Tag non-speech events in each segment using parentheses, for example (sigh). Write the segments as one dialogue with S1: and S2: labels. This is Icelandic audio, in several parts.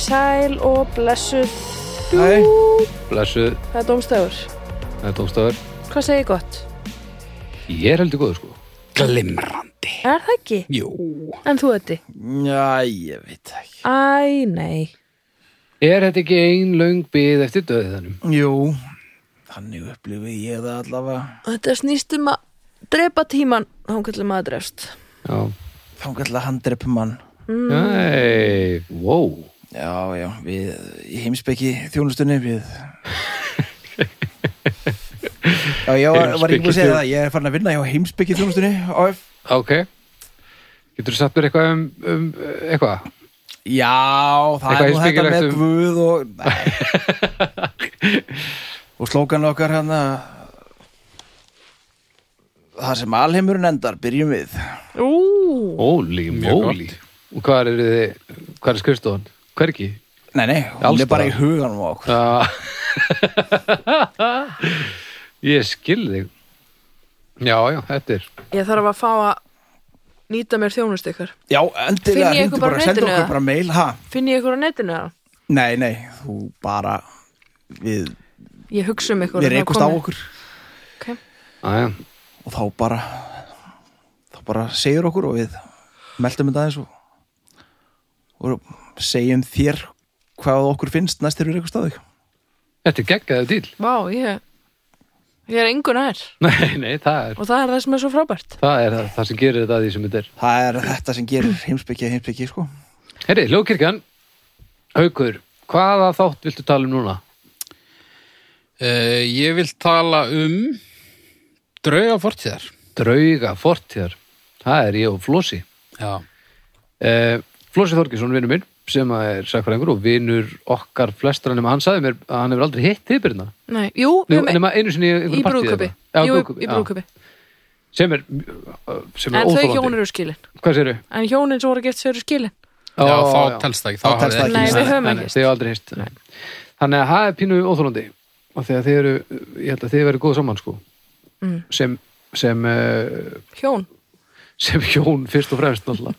S1: sæl og blessuð.
S2: Hæ, blessuð,
S1: Það er dómstafur.
S2: það er Dómstafur.
S1: Hvað segir gott?
S2: Ég er heldur góður sko.
S3: Glimrandi.
S1: Er það ekki?
S3: Jú.
S1: En þú þetta?
S3: Já, ég veit ekki.
S1: Æ, nei.
S2: Er þetta ekki ein löng bið eftir döðiðanum?
S3: Jú, þannig upplifi ég það allavega.
S1: Þetta snýst um að drepa tíman, hann kallar maður drefst.
S2: Já.
S3: Þá kallar hann drepp mann.
S2: Æ, wow.
S3: Já, já, við í heimsbyggi þjónustunni við...
S2: (laughs)
S3: Já, ég var, var ekki búin að segja það, ég er farin að vinna hjá heimsbyggi þjónustunni og
S2: Ok. Getur þú satt mér eitthvað um, um eitthvað?
S3: Já, það er nú
S2: Eitthvað
S3: þetta
S2: heimspekilegt
S3: með
S2: um-
S3: Guð og Nei.
S2: (laughs)
S3: og slókan okkar hann Það sem alheimurinn endar byrjum við
S1: Ú,
S2: Óli,
S4: Mjög
S2: móli. Og hvar eru þið, hvar er skrifstofan? Hvergi?
S3: Nei, nei, hún
S2: Alls
S3: er bara í
S2: staðar.
S3: huganum á okkur
S2: Já. (laughs) Ég skil þig. Já, já, þetta er.
S1: ég þarf að fá að nýta mér þjónust ykkur.
S3: Já,
S1: Finn
S3: endilega,
S1: ég
S3: hringdu
S1: eitthvað bara á
S3: sendu
S1: netinu
S3: okkur
S1: eða?
S3: bara mail ha?
S1: Finn ég ykkur á netinu það?
S3: Nei, nei, þú bara við,
S1: Ég hugsa um ykkur.
S3: við reykust á okkur
S1: Okay.
S2: Já, já.
S3: og þá bara þá bara segir okkur og við meldum þetta aðeins og, og segjum þér hvað okkur finnst næst þegar við reykust á þig
S2: Þetta er geggjaðu dýl.
S1: Vá, ég, ég er engu nær
S2: (laughs) Nei, nei, það er,
S1: og það er það sem er svo frábært.
S2: það er það- það sem gerir þetta að því sem þetta er.
S3: Það er þetta sem gerir heimsbyggja heimsbyggi, sko.
S2: Herri, Ljókirkjan, Haukur, hvaða þátt viltu tala um núna?
S4: Uh, ég vil tala um drauga fortíðar.
S2: Drauga fortíðar, það er ég og Flósi.
S4: Já.
S2: Uh, Flósi Þorgesson, vinur minn, sem að er sakfræðingur og vinur okkar flestra nema hann sagði mér að hann hefur aldrei hitt þig byrna.
S1: Nei, jú, við
S2: Nú,
S1: erum-
S2: nema einu sinni í
S1: í
S2: einhverju partíi eða
S1: brúðköpi. Jú,
S2: eitthvað. Já,
S1: í
S2: brúðköpi,
S1: brúðköpi.
S2: já. Sem er, uh, sem er
S1: En þau hjón
S2: óþólandi.
S1: eru skilin.
S2: Hvað sérðu?
S1: En hjónin sem voru að gifta sér eru skilin.
S4: Já, þá telst það ekki.
S3: Þá
S4: hafði
S3: telst það
S4: ekki
S3: ekki.
S4: verið.
S1: Nei, við höfum
S2: Nei,
S1: ekki
S2: nei,
S1: hist.
S2: Þið hefur aldrei hist Þannig að það er pínu óþólandi og þegar þið eru, ég held að þið verið góð saman sko
S1: Mm.
S2: sem, sem, eh,
S1: Hjón.
S2: sem hjón fyrst og fremst náttúrulega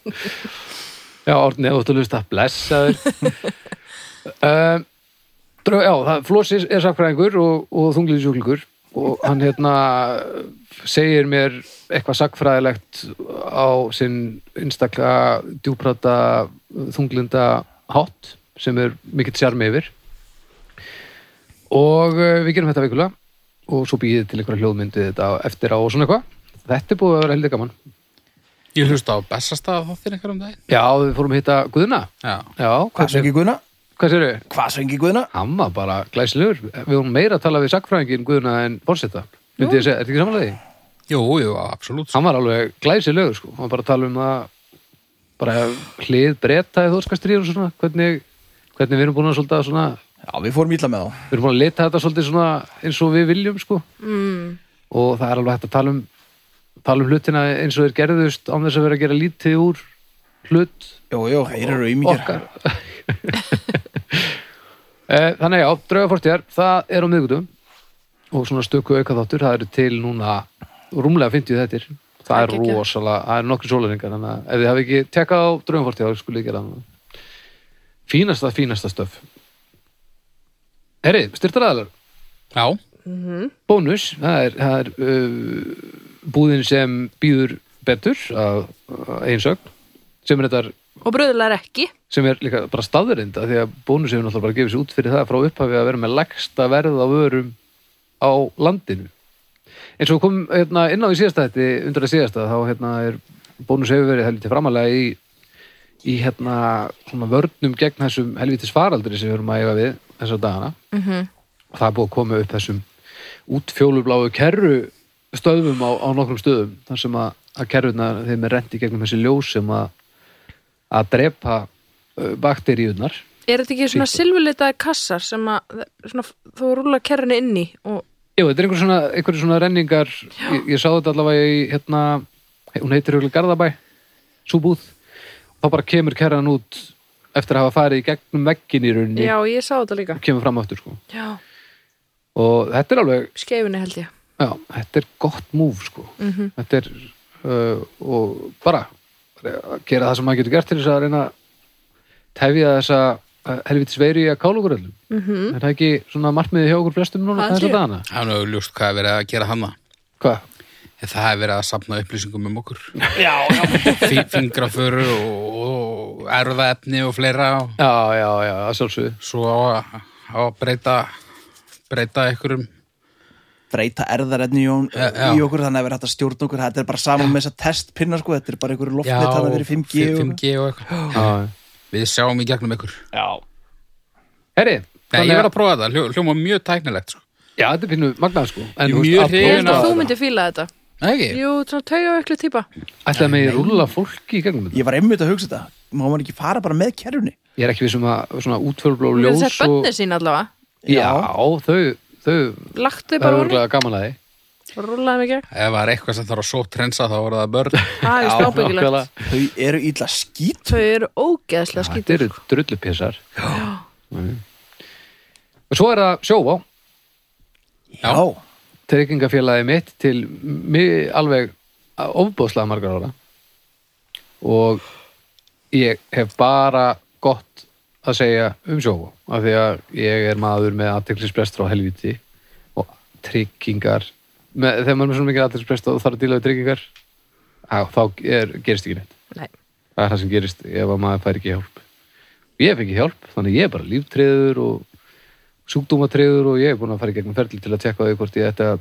S2: Já, orðin eða út að lusta blessaður uh, drög, Já, það, Flósi er sakfræðingur og, og þungliðsjúklingur og hann hérna segir mér eitthvað sakfræðilegt á sinn einstaklega djúprata þunglinda hátt sem er mikill sjarmi yfir og eh, við gerum þetta vikulega og svo býðið til einhverja hljóðmyndið þetta á- eftir á og svona eitthvað þetta er búið að vera heldig gaman
S4: Ég hlusta á bestastaða þáttir einhverjum daginn.
S2: Já, við fórum að hitta Guðna
S4: Já.
S2: Já,
S3: Hvað
S2: hvernig,
S3: söngi Guðna?
S2: hvað sérðu?
S3: Hvað söngi Guðna?
S2: Hann var bara glæsilegur Við vorum meira að tala við sakfræðingin Guðna en fórseta Myndi ég að segja, er þetta ekki samanlega því?
S4: Jú, jú, absolutt.
S2: Hann var alveg glæsilegur sko Hann var bara að tala um að bara hlið breyta eða þóskastríður og svona hvernig, hvernig við erum búin að svolítið að svona
S3: Já, við fórum ítla með þá.
S2: við erum búin að leta þetta svolítið svona eins og við viljum sko
S1: Mm.
S2: og það er alveg hægt að tala um tala um hlutina eins og þeir gerðust án þess að vera að gera lítið úr hlut
S3: Jú, jú, þeir eru auðmíkjar.
S2: okkar (laughs) Eh, Þannig já, draugafortíðar það er á miðgutum og svona stöku auka þáttur, það eru til núna rúmlega 50 þettir það
S1: Það er
S2: er
S1: geggjað.
S2: rosalega, það eru nokkri sólaringar þannig að ef þið hafi ekki tekkað á draugafortíðar þá skulle ég gera það fínasta, fínasta stöf Herri, styrtaraðalar
S4: Já.
S2: bónus, það er, það er uh, búðin sem býður betur að einsögn sem er þetta
S1: Og bröðulega er ekki.
S2: sem er líka bara staðurind af því að bónus hefur náttúrulega bara gefið sér út fyrir það frá upphafi að vera með lægsta verð á vörum á landinu eins og við komum hérna, inn á í síðasta þetta undir að síðasta þá hérna, er bónus hefur verið helviti framalega í, í hérna, svona vörnum gegn þessum helvitis faraldri sem við erum að eiga við þessar dagana og það er búið að koma upp þessum útfjólubláu kerru stöðum á, á nokkrum stöðum þar sem að, að kerrunar þeim er rent í gegnum þessi ljós sem að að drepa uh, bakteríunar
S1: Er þetta ekki svona silfurlitaði kassar sem að svona, þú rúla kerrinu inni og
S2: Jú, þetta er einhver svona, einhver svona renningar ég, ég sá þetta allavega í hérna hún heitir hugulega Garðabæ súbúð, þá bara kemur kerran út eftir að hafa farið í gegnum veggin í rauninni
S1: já, ég sá þetta líka.
S2: og kemur fram aftur sko
S1: Já,
S2: og þetta er alveg,
S1: skeifinni held ég.
S2: já, þetta er gott múf sko,
S1: Mhm.
S2: þetta er uh, og bara að gera það sem maður getur gert til þess að reyna að tefja þessa uh, helvitis veiri að kála okkur öllum
S1: Mhm.
S2: -hmm. er það ekki svona markmiði hjá okkur flestum núna
S1: Það
S2: þess að
S1: held ég.
S2: dana?
S4: Það er nú ljóst hvað er verið að gera hana.
S2: Hvað?
S4: Það er verið að sapna upplýsingum um okkur. Já, já. Fingraföru og, og erðaefni og fleira. Og
S2: Já, já, já, að sjálfsögðu
S4: svo á að, á að breyta, breyta einhverjum.
S3: breyta erðarenni í,
S4: Já, já.
S3: í okkur þannig að vera hægt að stjórna okkur þetta er bara saman með þessa testpinna sko þetta er bara einhverju loftnett
S4: Já,
S3: þannig fyrir 5G, og-
S4: 5G og eitthvað.
S2: Já.
S4: Við sjáum í gegnum ykkur.
S2: Herri,
S4: Nei, ég
S2: þannig að
S4: verð að prófa þetta. Hljó, hljóma mjög tæknilegt, sko.
S2: Já, þetta er pínu magnað sko En
S4: Ég er
S2: þú veist,
S4: mjög
S2: að
S1: Ég
S4: hrifinn
S1: held
S2: prófa
S1: að þú
S2: þetta.
S1: myndir fíla þetta.
S4: Nei, ekki?
S1: Jú, svona tauga veklu típa.
S2: Ætlaði mig rúlla fólki í gegnum þetta
S3: ég var einmitt að hugsa þetta má maður ekki fara bara með kerfni
S2: Ég er ekki vissum að svona útförblá
S1: Hún er
S2: ljós
S1: þess að bönni sín allavega.
S2: Já, þau, þau
S1: Lagt þau
S2: Það er
S1: bara orði,
S2: örgulega gaman að því
S1: rúlaði mikið.
S4: Ef það er eitthvað sem þarf að sótt rensa þá voru það (laughs) börn.
S1: Það er
S2: nákvæmlega.
S1: slábyggilegt.
S3: þau eru illa skít
S1: Þau eru ógeðslega
S2: Þetta
S1: skýtur.
S2: eru drullupissar Já Og svo er það sjóvá
S4: Já.
S2: tryggingafélagi mitt til mig alveg ofbóðslega margar ára og ég hef bara gott að segja um sjóvá af því að ég er maður með aðteklisbrestur á helviti og tryggingar með, þegar maður er með svona mikið aðteklisbrestur og þarf að díla við tryggingar á, þá er, gerist ekki neitt
S1: Nei.
S2: það er það sem gerist ef að maður fær ekki hjálp ég hef ekki hjálp, þannig ég er bara líftriður og sjúkdómatriður og ég er búin að fara í gegnum ferli til að tekka því hvort ég ætti að,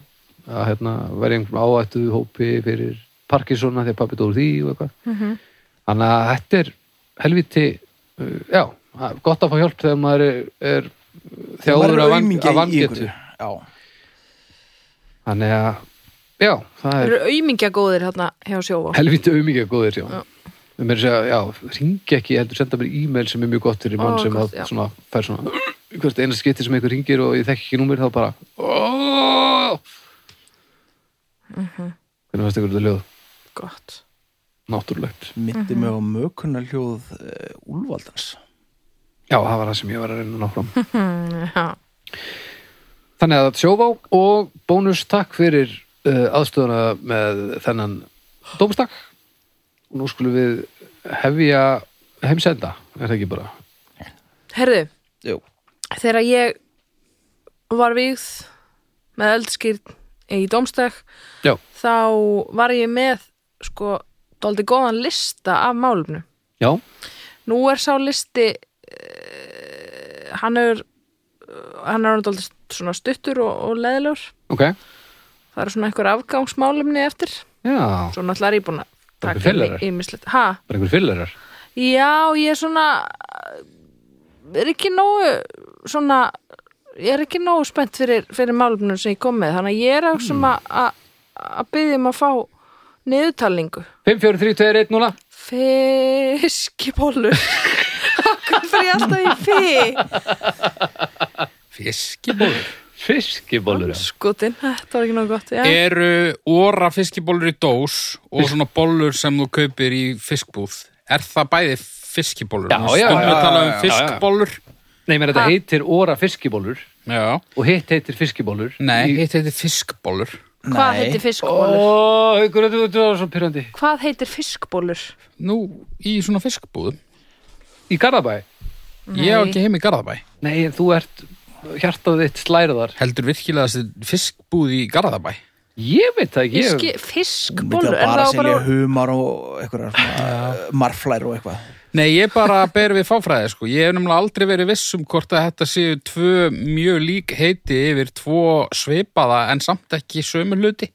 S2: að hérna, vera í einhverjum áættu hópi fyrir Parkinsona því að pappi dór því og eitthvað
S1: Mhm.
S2: þannig að þetta er helviti uh, já, gott að fá hjálp þegar maður er, er þjáður af van- af vangetu
S3: já
S2: þannig að, já, það
S1: Þau
S2: er
S1: eru aumingja góðir hérna hjá sjófa.
S2: helviti auðmikið góðir já.
S1: Já.
S2: Við meira að segja, já, ringi ekki, heldur senda mér e-mail sem er mjög gott fyrir mann
S1: Ó,
S2: sem
S1: gott,
S2: að
S1: já.
S2: svona, fær svona hvert eina skipti sem einhver ringir og ég þekki ekki númur þá bara oh!
S1: Mhm.
S2: Hvernig varst ykkur þetta ljóð?
S1: Gott.
S2: Náttúrulegt
S3: myndi mig
S1: Mhm.
S3: á mökunna hljóð uh, úlvaldans
S2: Já, það var það sem ég var að reyna að ná fram
S1: Já.
S2: Þannig að sjóvá og bónus takk fyrir uh, aðstöðuna með þennan dómstak og nú skulum við hefja heimsenda, er það ekki bara?
S1: Herðu,
S3: Jú.
S1: þegar ég var vígð með eldskýrt í domstæk
S2: Já,
S1: þá var ég með sko dóldi góðan lista af málumnu.
S2: já,
S1: Nú er sá listi uh, hann er hann er dóldi svona stuttur og, og leðilegur.
S2: ok
S1: Það eru svona einhver afgangsmálumni eftir.
S2: Já,
S1: Svo náttúrulega er ég búin að
S2: Það
S1: taka
S2: eru fillerar.
S1: ímislegt. Ha?
S2: bara einhver fyllerar
S1: Já, ég er svona er ekki nógu svona, ég er ekki nógu spennt fyrir, fyrir málumnum sem ég kom með þannig að ég er að
S3: Hmm.
S1: sem að að byggja um að fá niðurtalningu
S2: 5, 4, 3, 2, 1, 0
S1: Fiskibólur Akkur fyrir ég alltaf í fi
S4: Fiskibólur.
S2: Fiskibólur já.
S1: Skotin, þetta var ekki nógu gott Já,
S4: Eru óra fiskibólur í dós og svona bólur sem þú kaupir í fiskbúð? Er það bæði fiskibólur?
S2: Já, já,
S4: Stundum
S2: já,
S4: við tala um
S2: já, já.
S4: fiskbólur.
S2: Nei, menn þetta
S1: Ha?
S2: heitir óra fiskibólur
S4: Já.
S2: og hitt heitir fiskibólur
S4: Nei, hitt heitir fiskbólur.
S1: hvað
S3: Nei.
S1: heitir fiskbólur?
S2: Ó, haukur, þetta þetta var svo pyrrandi
S1: Hvað heitir fiskbólur?
S4: Nú, í svona fiskbúðum.
S2: Í Garðabæ?
S4: Ég á
S1: Nei.
S4: ekki heim í Garðabæ.
S2: Nei, en þú ert hjartað þitt slæriðar
S4: Heldur virkilega þessi fiskbúð í Garðabæ.
S2: Ég veit það ekki
S1: Fiski,
S2: ég...
S3: myndi
S1: fiskbólur, er
S3: að bara
S1: það
S3: selja
S1: bara
S3: humar og einhverjar svona, eh, marflær og eitthvað
S4: Nei, ég bara ber við fáfræði, sko. Ég hef nefnilega aldrei verið viss um hvort að þetta séu tvö mjög lík heiti yfir tvo svipaða en samt ekki sömu hluti.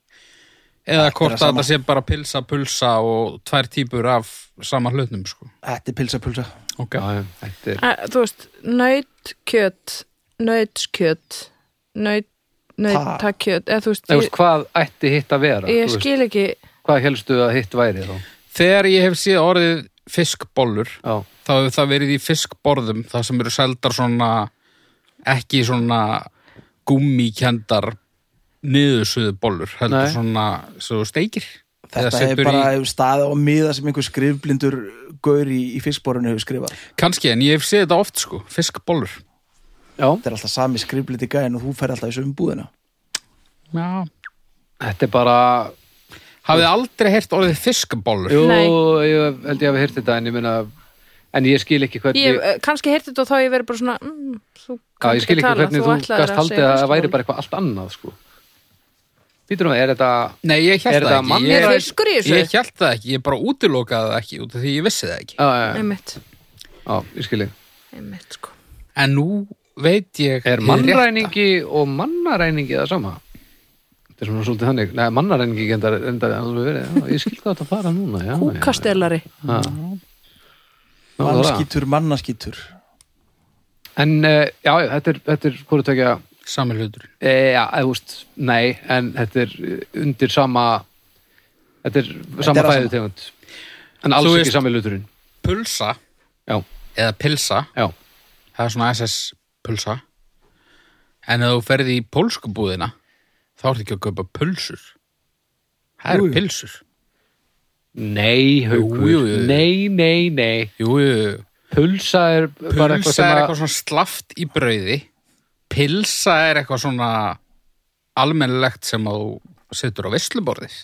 S4: Eða hvort
S3: það
S4: að
S3: sama.
S4: þetta sé bara pilsa, pulsa og tvær típur af sama hlutnum, sko.
S3: þetta er pilsa pilsa
S4: Ok.
S2: Já, já, þetta er
S1: Æ, Þú veist, nautkjöt, nautskjöt, naut, nautakjöt, eða þú veist,
S2: Nei,
S1: ég,
S2: veist, hvað ætti hitt að vera?
S1: ég
S2: Þú
S1: skil ekki,
S2: Hvað helstu að hitt væri þá?
S4: Þegar ég hef séð orðið fiskbollur,
S2: Já,
S4: þá hefur það verið í fiskborðum, það sem eru seldar svona, ekki svona gummikjandar niðursuðu bollur, heldur
S2: Nei.
S4: svona, svo þú steikir. Eða
S3: þetta er
S4: setur
S3: bara í... staðið á miða sem einhver skrifblindur gaur í, í fiskborinu hefur skrifað
S4: Kanski, en ég hef séð þetta oft sko, fiskbólur.
S2: já
S3: þetta er alltaf sami skrifblindi gæðin og þú fer alltaf í sömu búðina
S4: Já.
S2: Þetta er bara
S4: Hafið þið aldrei heyrt orðið fiskbólur?
S2: Jú,
S1: Nei.
S2: ég held ég hafi heyrt þetta en ég meina en ég skil ekki hvernig
S1: Ég, eh, kannski heyrti þetta og þá ég verið bara svona mm, þú
S2: Já, ég
S1: kannski
S2: skil ekki
S1: tala,
S2: hvernig þú
S1: ætlaðir
S2: gast haldið
S1: segja
S2: að
S1: kannski
S2: það væri
S1: máli.
S2: bara eitthvað allt annað, sko. Býtur um að, er þetta...
S4: Nei, ég
S2: Er
S4: held það
S2: þetta
S4: ekki
S1: Er
S2: mannrétt-
S4: ég,
S1: fiskur í þessu?
S4: ég held það ekki, ég bara útilokaði það ekki út af því ég vissi það ekki
S2: Já, já, já,
S1: einmitt,
S2: já, ég skil ég.
S1: einmitt sko.
S4: En nú veit ég
S2: Er
S4: hið rétta.
S2: mannræningi og mannaræningi það sama? Þetta er svona svolítið þannig. Nei, mannaræningi gendar endar alveg verið. Já, ég skil hvað þetta fara núna, já.
S1: kúkastelari
S2: Já. Já, það var það.
S3: Mannskítur, mannaskítur
S2: En, eh, já, já, þetta er, þetta er hvort tökja...
S4: Sami hlutur
S2: E, já, eða úst, nei, en þetta er eh, undir sama... Þetta er
S3: er
S2: sama
S3: það
S2: fæðu tegund. En alls
S4: Þú
S2: ekki
S4: veist-
S2: sami luturinn.
S4: Pulsa
S2: Já,
S4: eða pilsa
S2: já.
S4: það er svona SS pulsa en ef þú ferði í pólskubúðina þá ertu ekki að kaupa pulsur það eru pilsur
S2: Nei, haukur.
S4: Jú, jú, jú.
S2: Nei, nei, nei.
S4: jú, jú, jú.
S2: Pulsa er bara eitthvað
S4: pulsa
S2: sem
S4: er
S2: að...
S4: eitthvað svona slaft í brauði pilsa er eitthvað svona almennilegt sem að þú setur á veisluborðið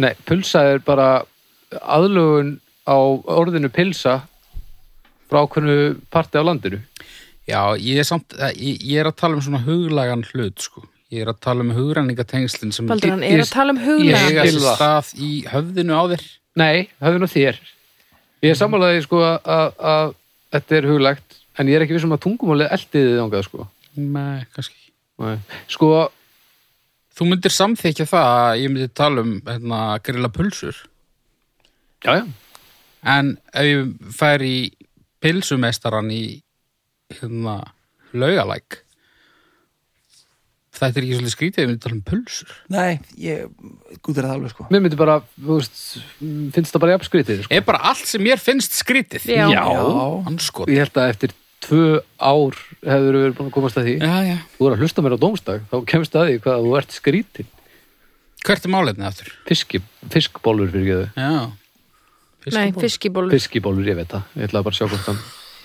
S2: Nei, pulsa er bara aðlugun á orðinu pilsa frá hvernig parti af landinu.
S4: já, ég er samt það- ég, ég er að tala um svona huglagan hlut sko. ég er að tala um hugræningatengslin sem
S1: Baldur, hann er
S2: Ég-
S1: að tala um
S2: ég-
S1: huglega
S4: eiga
S2: skil
S4: sér
S2: það.
S4: stað í höfðinu á þér
S2: Nei, höfðu nú þér. Ég er sammálaði sko að- að að þetta er huglegt, en ég er ekki vissum að tungumálið eldiði þangað sko.
S4: nei, kannski ekki
S2: Nei. Sko,
S4: Þú myndir samþykja það að ég myndi tala um hérna, grilla pulsur
S2: já, já.
S4: en ef ég fær í pilsumestaran í hérna, laugalæk þetta er ekki svolítið skrítið ef ég myndi tala um pulsur
S3: Nei, ég gúður það alveg sko
S2: Mér myndi bara, þú veist, finnst það bara í apskritið sko.
S4: er bara allt sem mér finnst skrítið
S1: Já.
S3: Já.
S4: anskot
S2: Ég held að eftir tvö ár hefur verið búin að komast að því.
S4: já, já.
S2: þú er að hlusta mér á dómstag þá kemst að því hvað þú ert skrítin
S4: hvert er málefnið aftur?
S2: Fiski, fiskbólur fyrir geðu
S4: Já.
S1: nei,
S4: Fiskibólur.
S1: fiskibólur
S2: fiskibólur, ég veit það, ég ætla bara að sjá hvort hann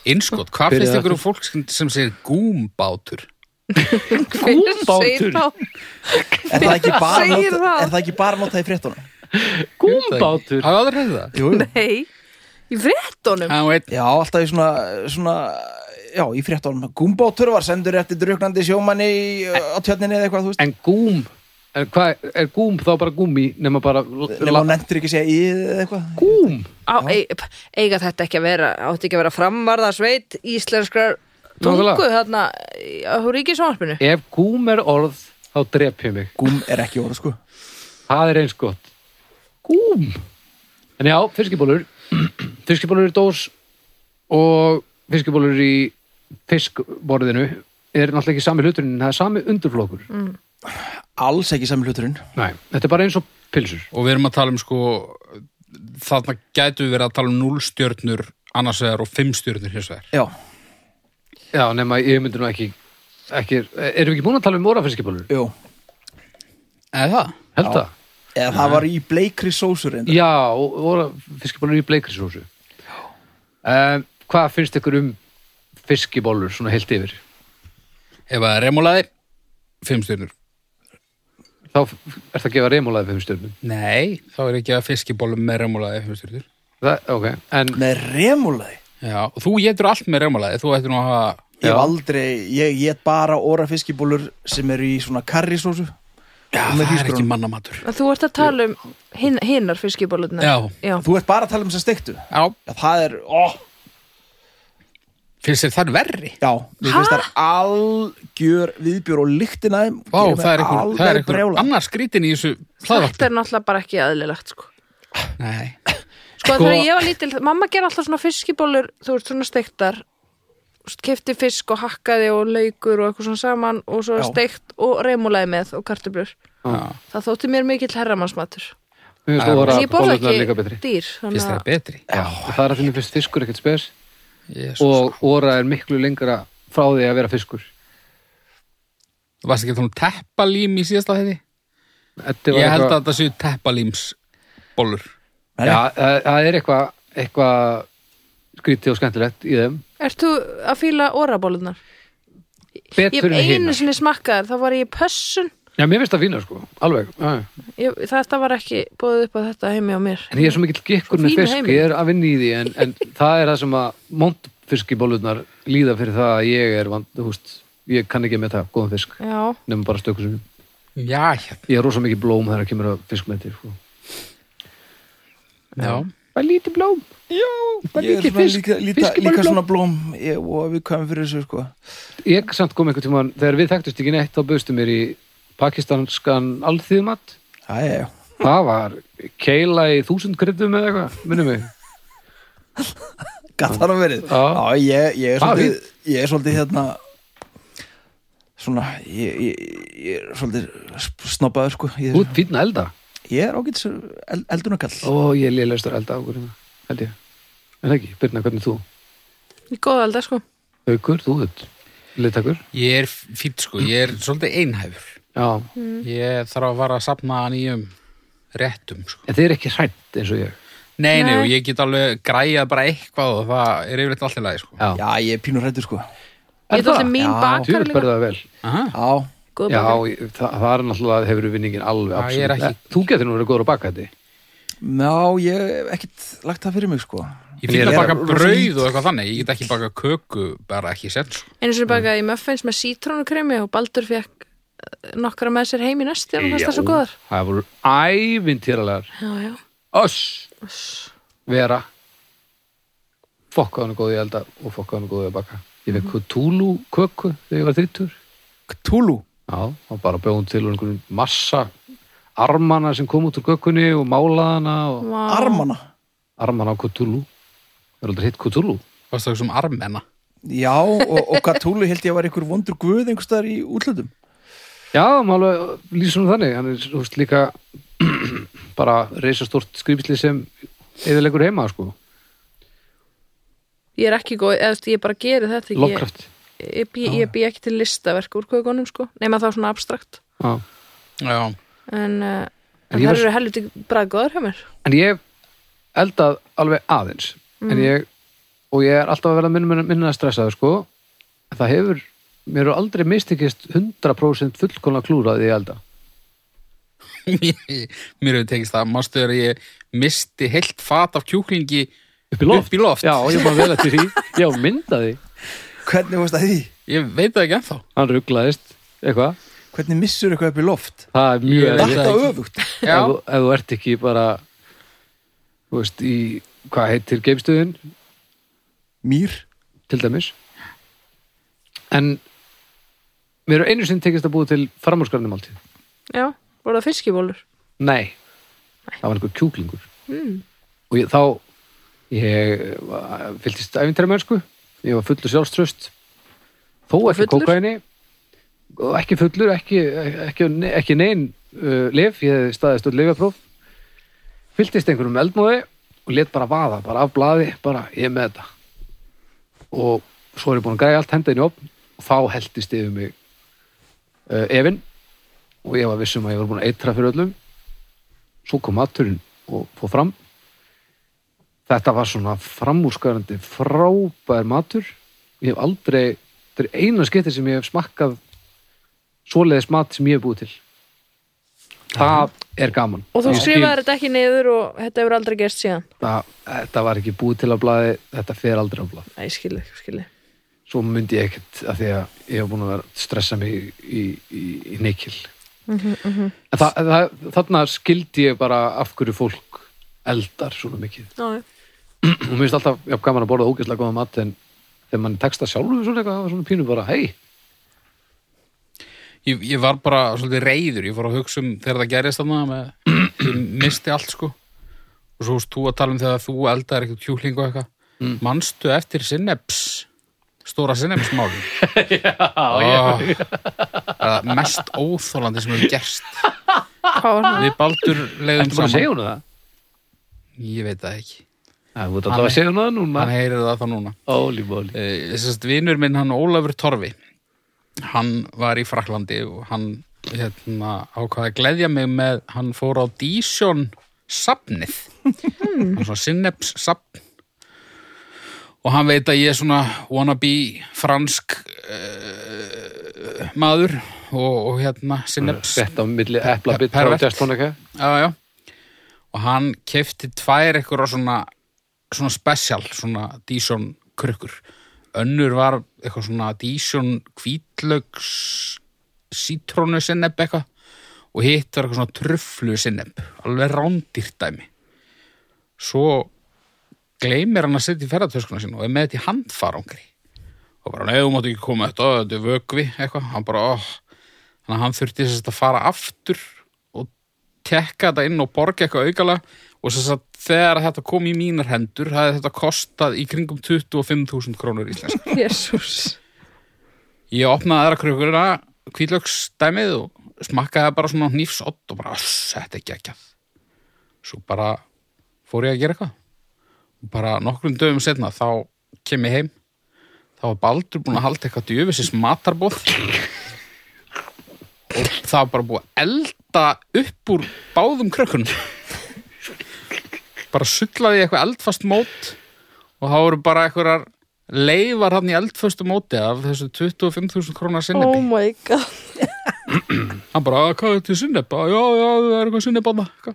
S4: innskot, hvað
S2: Byrjaðu
S4: finnst
S2: aftur.
S4: ykkur um fólk sem- sem segir gúmbátur?
S1: (laughs)
S2: Gúmbátur.
S3: Er það ekki bara,
S1: Segir
S3: nota,
S1: það.
S3: er það ekki bara notað í fréttunum?
S2: gúmbátur
S4: hafði aldrei hefði það?
S3: Jú, jú.
S1: nei, í fréttunum
S4: Já, veit,
S3: já, alltaf í svona, svona Já, í fréttunum Gumbótur var sendur eftir druknandi sjómanni í, uh, á tjörninni eða eitthvað, þú veist
S2: en gúm, er, hvað, er gúm þá bara gúmi nema bara
S3: Nefnum hún nendur ekki að segja í eða eitthvað
S2: gúm
S1: Á, e, p- eiga þetta ekki að vera átti ekki að vera framvarðarsveit íslenskrar tungu
S2: Nákvæmlega.
S1: þarna í- á Ríkisvarpinu
S2: ef gúm er orð þá drep ég mig
S3: Gum er ekki orð sko
S2: það er eins gott gúm en já, (clears throat) fiskibólur fiskibólur í dós og fiskibólur í fiskborðinu er náttúrulega ekki sami hluturinn en það er sami undurflokkur
S3: Alls ekki sami hluturinn
S2: Nei, þetta er bara eins og pilsur
S4: og við erum að tala um sko þarna gætu við verið að tala um 0 stjörnur annars vegar og 5 stjörnur hins vegar
S3: Já,
S2: Já, nema ég myndi nú ekki, ekki Erum við ekki búin að tala um órafiskibólur?
S3: jú
S4: eða það?
S2: Held það?
S3: Eða það var í bleikri sósur reyndar.
S2: Já, órafiskibólur í bleikrisrósu um, Hvað finnst ykkur um fiskibólur svona heilt yfir?
S4: ef það er remulaði, 5 stjörnur
S2: Þá f- ertu að gefa reymúlaði fyrir stjörnum
S4: nei, þá er ekki að fiskibólum með remulaði 5 stjörnur
S2: Það, ok, en
S3: Með remulaði
S4: já, og þú getur allt með remulaði þú ættir nú að hafa
S3: Ég hef
S2: Já.
S3: aldrei, ég get bara óra fiskibólur sem eru í svona karrisósu
S4: já,
S3: Og með
S4: það er ekki
S3: hrísgrjónum.
S4: mannamatur
S1: En þú ert að tala um hin, hinnar fiskibólurnar
S4: Já.
S1: já.
S3: Þú ert bara að tala um sem steiktu
S4: já,
S3: Já, það er, ó,
S4: finnst þér þar verri
S3: já Mér finnst það algjör viðbjör og lyktin að þeim
S4: Vá, það er einhver, það er einhver
S3: brjála
S4: annar skrítin í þessu
S1: þetta
S4: hlaðvarp
S1: er náttúrulega bara ekki aðlilegt sko
S4: nei,
S1: Sko,
S4: Sko-
S1: þegar ég var lítil, mamma ger alltaf svona fiskibólur, þú veist, svona steiktar kefti fisk og hakkaði og laukur og eitthvað svona saman og svo
S3: Já.
S1: steikt og reymulaði með og kartöblur
S4: Já.
S1: það þótti mér mikill herramannsmatur
S2: mér finnst
S1: en
S4: En
S1: ég borða
S2: órafiskibólurnar líka
S1: ekki
S2: betri
S1: dýr
S4: finnst þér
S1: þannig að
S4: betri
S2: Já, það er að því mér finnst fiskur ekkert spes
S4: Jesus. og
S2: og óra er miklu lengra frá því að vera fiskur
S4: varst ekki að tala um teppalím í síðasta þeirri?
S2: Þetta var
S4: ég held
S2: eitthvað-
S4: að þetta séu teppalíms bólur
S3: Nei,
S2: Já, það, það er eitthvað eitthva skrítið og skemmtilegt í þeim
S1: Ert þú að fíla orabólunar? Ég hef
S2: betur en
S1: einu
S2: hinn
S1: sinni smakkaðar, þá var ég í pössun
S2: Já, mér finnst það fína sko, alveg já, já.
S1: Ég, þetta var ekki búið upp á þetta heimi á mér.
S2: En ég er svo mikill gikkur með
S1: Fín
S2: fisk,
S1: heimild.
S2: ég er að vinna í því en, (laughs) en það er það sem að montfiskibólurnar líða fyrir það að ég er vand, þú veist, ég kann ekki með það góðan fisk,
S1: Já,
S2: nefnum bara stöku sinni
S4: Já, hérna.
S2: Ég er rosa mikið blóm þegar að kemur að fiskmeti sko.
S4: Já.
S2: Bara lítið blóm Já, bara
S3: Ég er
S2: lítið
S3: svona
S2: fisk,
S3: líka, líka, líka
S2: fiskibólblóm.
S3: svona blóm ég, og við komum fyrir þessu sko
S2: Ég samt kom einhvern tímann, þegar við þekktust ekki neitt þá bauðstu mér í pakistanskan alþýðumat
S3: Já, já, já
S2: Það var keila í þúsund kryddum eða eitthvað, minnum mig
S3: Gat þar að verið
S2: Já.
S3: Já, ég, ég er
S2: Já,
S3: svolítið Ég er svolítið hérna Svona Ég, ég, ég er svolítið snobbaður sko Ég,
S2: Út fínna elda
S3: ég er ágætt el, eldunarkall
S2: Ó, ég er lélegastur elda ákvörðina, held ég. En ekki, Birna, hvernig þú?
S1: í góða aldar sko.
S2: Haukur, þú þitt, liðtakur?
S4: Ég er fýtt sko, ég er svolítið einhæfur.
S2: Já,
S4: Mm. Ég þarf að vara að sapna nýjum réttum sko.
S2: en þið er ekki hrætt eins og ég.
S4: Nei, nei,
S1: Nei.
S4: og ég get alveg græjað bara eitthvað og það er yfirleitt allt í lagi sko.
S2: Já,
S3: Já, ég er pínur hættur sko Já,
S1: Ég er alltaf mín
S3: Já.
S2: Þú
S1: bakar
S2: vil
S1: líka.
S2: berða það vel.
S4: Aha.
S1: Góð
S2: Já,
S1: bakar.
S2: ég- það, það er náttúrulega, hefur vinningin alveg
S4: Já, ég er
S2: absolutt. Eh,
S4: ekki-
S2: Þú getur nú verið góður að baka þetta.
S3: Ná, ég hef ekkert lagt það fyrir mig sko
S4: Ég fíla
S2: Ég
S4: að
S2: er
S4: baka
S3: rosa
S4: brauð og eitthvað þannig, ég get ekki baka köku bara ekki senn sko.
S1: Einu sinni bakaði ég muffins með sítrónukremi og Baldur fekk nokkra með sér heim í næstu og fannst það svo góðar.
S2: Það voru ævintýralegar.
S1: Já, já.
S2: Oss! Vera. Fokkaði hann góði elda og fokkaði hann góði að baka. Ég
S4: Mhm.
S2: fekk túlú köku þegar ég var þrittur.
S3: Túlu
S2: Já, og bara bjóðum til úr einhverjum massa armana sem kom út úr gökkunni og málaðana og
S1: Vá.
S3: Armana
S2: armana á Cthulhu. Það er aldrei hitt Cthulhu.
S4: Það stók sem armenna.
S3: Já, og, og hvað Túlu held ég að var einhver vondur guð einhverstaðar í útlöndum
S2: Já, málega lýsum þannig. Hann er þú veist, líka (clears throat) bara reisastort skrýpsli sem eðilegur heima, sko.
S1: Ég er ekki góð, eða þú veist, ég bara geri þetta ekki.
S2: Lovecraft.
S1: Ég, ég, bý- ég bý ekki til listaverk úr kökunum sko, nema þá svona abstrakt.
S2: Já.
S4: Já. (laughs)
S1: En, uh,
S2: En
S1: en það
S2: ég var-
S1: eru helviti braggóður hjá mér.
S2: En ég hef eldað alveg aðeins. En ég, og ég er alltaf að vera minna, minna, minna stressaður, sko. En það hefur, mér eru aldrei mistekist 100% fullkona klúraði ég elda.
S4: Mér hefur tekist það, mástu þegar ég misti heilt fat af kjúklingi
S2: Upp í loft?
S4: Upp í loft.
S2: Já, ég er bara vel
S4: (laughs)
S2: eftir því. Já, myndaði.
S3: Hvernig veist að því?
S4: Ég veit það ekki ennþá.
S2: Hann rugglaðist, eitthvað.
S3: Hvernig missur eitthvað upp í loft?
S2: Það er mjög
S4: Ég-
S2: erfitt.
S3: Þetta
S4: það ekki.
S3: öfugt
S4: Já.
S2: Ef, þú- ef þú ert ekki bara, þú veist, í, hvað heitir geimstöðin,
S3: Mýr
S2: til dæmis. En mér er einu sinn tekist að búið til framúrskarnum alltíð.
S1: Já, voru það fiskibólur.
S2: Nei, það var einhver kjúklingur. Og ég, þá, ég var- fylgdist æfintæra mennsku, ég var fullur sjálfströst, þó ekki
S1: fullur?
S2: kókaini, og ekki fullur, ekki, ekki, ekki nein uh, lif, ég hefði staðist öll lifjapróf, fylgdist einhverjum eldmóði og let bara vaða, bara af blaði, bara ég er með þetta. Og svo er ég búin að græja allt henda inn í opn og þá heldist yfir mig uh, efinn og ég var vissum að ég var búin að eitra fyrir öllum svo kom maturinn og fór fram þetta var svona framúrskarandi frábær matur ég hef aldrei, þetta er eina skipti sem ég hef smakkað svoleiðis mat sem ég hef búið til það er gaman
S1: Og þú
S2: Ég skil-
S1: skrifaðir þetta ekki niður og þetta hefur aldrei gerst síðan.
S2: það, þetta var ekki búið til á blaði þetta fer aldrei á blað
S1: Æ, skilði, skilði.
S2: svo myndi ég ekkert að því að ég hef búin að vera að stressa mig í, í, í, í neykil en það, það, þarna skildi ég bara af hverju fólk eldar svona mikið
S1: Já, já.
S2: og mér finnst alltaf já, gaman að borða ógeðslega góða mat en þegar mann texta sjálfur svona eitthvað það var svona pínu bara, hei,
S4: Ég, ég var bara svolítið reyður, ég fór að hugsa um þegar það gerist þannig með, (clears throat) ég misti allt sko. Og svo veist þú að tala um þegar þú eldar eitthvað kjúkling og eitthvað. Manstu eftir sinneps, stóra sinnepsmálum?
S2: Ah,
S4: já, já, já. Það er mest óþólandi sem hefur gerst.
S1: Hvað var það?
S4: Við baldur leiðum
S2: ertu bara að
S4: saman.
S2: segja hún það?
S4: Ég veit það ekki.
S2: Það, þú ert alltaf að segja hún það núna
S4: Hann heyrir það þá núna.
S2: Óli, bóli
S4: Eh, Þessast vinur minn, hann Ólafur Torfi hann var í Fraklandi og hann hérna, ákvaði að gleðja mig með hann fór á Dísjón safnið hann svona Synneps safn og hann veit að ég er svona wannabe fransk uh, maður og, og hérna Synapse
S2: Þetta á milli epla bitra og
S4: Pervert.
S2: jazztónika
S4: já, já. og hann kefti tvær eitthvað svona, svona special, svona Dísson krukkur önnur var eitthvað svona Dísson hvítlaugs sítrónu sinneb eitthvað og hitt var eitthvað svona truflu sinneb alveg rándýrt dæmi svo gleymir hann að setja í ferðartöskuna sín og er með þetta í handfarangri og bara, nei, þú mátt ekki koma þetta, þetta er vögvi eitthvað, hann bara, óh þannig að hann þurfti sérst að fara aftur og tekka þetta inn og borga eitthvað aukala og sérst að þegar þetta kom í mínar hendur hafði þetta kostað í kringum 25.000 krónur íslensk
S1: (laughs) Jésús
S4: ég opnaði aðra krukkurina kvíðlöksdæmið og smakkaði bara svona hnífsott og bara "Uss, þetta er geggjað svo bara fór ég að gera eitthvað og bara nokkrum dögum setna þá kem ég heim þá var Baldur búin að halda eitthvað djöfisins matarbóð og það var bara búið að elda upp úr báðum krökkunum bara sullaði ég eitthvað eldfast mót og þá eru bara einhverjar leifar hann í eldföstu móti af þessu 25.000 krónar
S1: Oh
S4: sinnebi
S1: my god
S4: hann bara, "Ah, hvað er þetta sinneb? já, já, það er eitthvað sinneb á það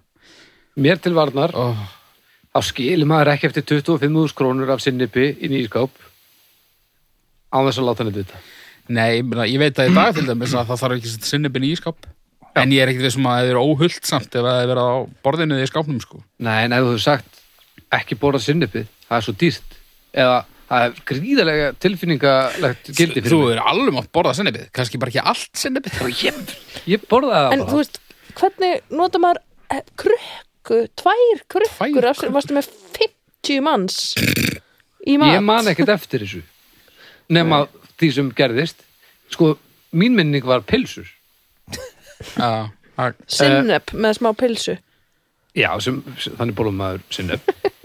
S2: Mér til varnar,
S4: oh.
S2: þá skilur maður ekki eftir 25.000 krónur af sinnipi inn í ískáp án þess að láta henni vita
S4: nei, ég, meina, ég veit að í dag til dæmis að það þarf ekki að setja sinnebin í ískap en ég er ekkert vissum að það er óhullt samt ef það er verið á borðinu eða í skápnum sko.
S2: Nei, en ef þú hefur sagt ekki borða sinnipi, það er svo dýrt eða það er gríðalega tilfinningalegt gildi
S4: þú
S2: fyrir mig
S4: er alveg mátt borða sinnebið, kannski bara ekki allt sinnebið
S2: Ég, ég borða það
S1: En þú
S2: bara
S1: veist, hvernig nota maður eh, krukku, tvær krukkur
S4: Tvær
S1: af sér, varstu með 50 manns í mat
S2: Ég man ekkert eftir þessu nema því sem gerðist Sko, mín minning var pilsur
S4: já, það-
S1: Sinnep með smá pilsu
S2: Já, sem, sem- þannig bólum maður sinni
S1: (laughs)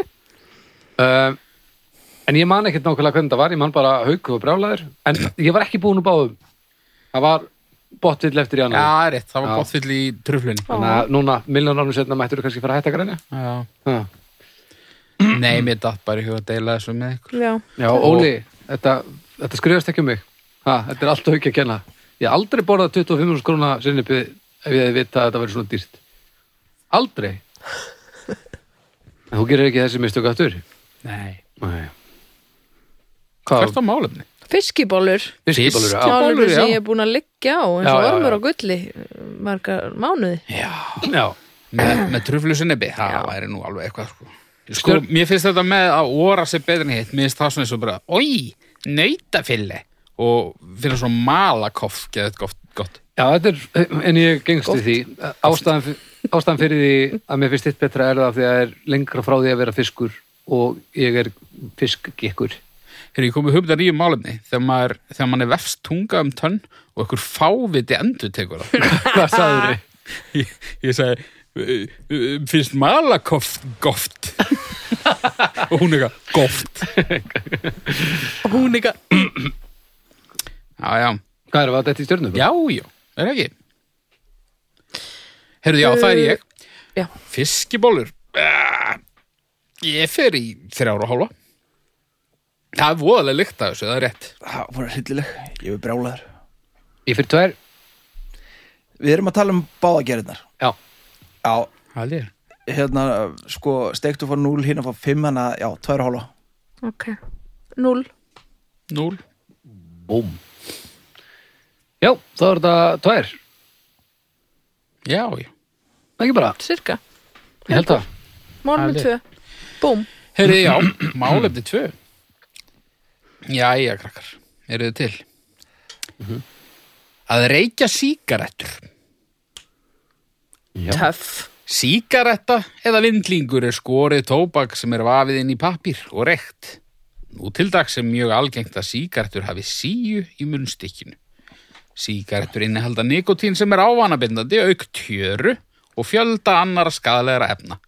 S2: uh, En ég man ekkert nákvæmlega hvernig það var, ég man bara hauku og brjálaður, en ég var ekki búin úr báðum Það var bottill eftir í
S4: já,
S2: annar
S4: það er rétt, það var
S2: Já.
S4: gott fyll í truflunni
S2: Þannig að núna, milljón árum setna mættur kannski fara að hætta að grænja
S4: já.
S2: Já,
S4: nei, mér datt bara í huga að deila þessu með ykkur
S1: Já,
S2: Já Óli, þetta, þetta skrifast ekki um mig ha, Þetta er allt auki að kenna Ég hef aldrei borðað 25.000 króna sinnipi ef ég hefði vitað að þetta verið svona dýrt Aldrei En þú gerir ekki þessi mistök aftur
S4: nei,
S2: Nei
S4: hvert
S2: Hvað?
S4: á málefni?
S1: fiskibólur
S2: Fiskibólur, já.
S1: Málur
S4: Fiskibólur, já.
S1: sem ég er búin að liggja á eins
S2: Já,
S1: og
S2: já,
S1: ormur
S2: já.
S1: á gulli eh, margar mánuði
S2: Já,
S4: með, með truflusinnebi, það
S1: Já.
S4: væri nú alveg eitthvað sko. sko,
S2: Stjórn-
S4: mér finnst þetta með að óra sér betur en hitt, mér finnst það svona eins og bara oi, nautafille og finna svona malakoff geða þetta gott, gott.
S2: já þetta er, en ég gengst í því ástæðan, fyr- ástæðan fyrir því að mér finnst þitt betra er það af því að það er lengra frá því að vera fiskur og ég er fiskgekkur
S4: Þegar ég komið hugmynd að nýjum málefni þegar maður, þegar maður er vefst tunga um tönn og einhver fáviti endur tekur (laughs) það
S2: Hvað sagður þið?
S4: ég, ég sagði "Uh, uh, finnst malakoff gott (laughs) og hún eitthvað gott og hún eitthvað já já
S2: Hvað er það, þetta í stjörnum?
S4: Já, já, er ekki Herðu, já, það er ég
S1: já.
S4: Fiskibólur Ah, Ég fer í þrjára og hálfa Það er voðalega lykt að þessu, það er rétt
S3: Það var hryllileg, ég er brjálaður
S2: Ég fyrir tvær,
S3: Við erum að tala um báðagerðnar
S2: já
S3: Já,
S4: Það er
S3: hérna, sko, steiktu fór 0, hérna fór 5, hana, já, 2,5
S1: Ok, null
S4: Núl
S2: Búm. Já, þá er þetta tvær,
S4: Já, já
S2: ekki bara,
S1: cirka,
S2: ég held það.
S1: málum
S4: Alveg.
S1: tvö Búm,
S4: Herðu, já, málefni tvö Jæja, krakkar Eru þið til? Að reykja sígarettur
S2: Já.
S1: töff
S4: Sígaretta eða vindlingur er skorið tóbak sem er vafið inn í pappír og reykt. Nú til dags er mjög algengt að sígarettur hafi síu í munnstykkinu. Sígarettur innihalda nikotín sem er ávanabindandi auk tjöru og fjölda annara skadalega efna.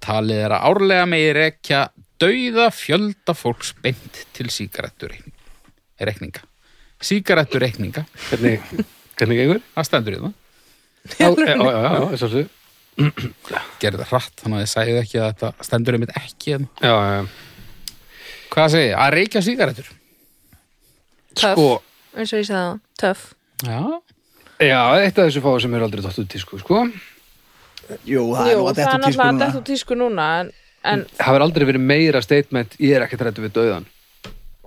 S4: Talið er að árlega megi rekja dauða fjölda fólks beint til sígaretturreikninga. Sígaretturreikninga,
S2: Hvernig, hvernig
S1: (laughs)
S2: gengur?
S4: það stendur í það.
S2: Já, já, já, já, já, svo svo.
S4: Gerði það hratt, þannig að ég sagði ekki að þetta stendur einmitt ekki hérna. en
S2: Já, já, já.
S4: Hvað segi ég? Að reykja sígarettur?
S1: Töff.
S2: Sko,
S1: eins og ég sagði það, töff
S4: Já.
S2: Já, eitt af þessu fáið sem er aldrei dottur tísku, sko.
S3: Jú, það er nú að
S1: það er
S3: þetta
S1: náttúrulega að
S3: tískunna
S1: detta úr tísku núna en, en
S2: Það hefur aldrei verið meira statement, ég er ekki trættu við döðan,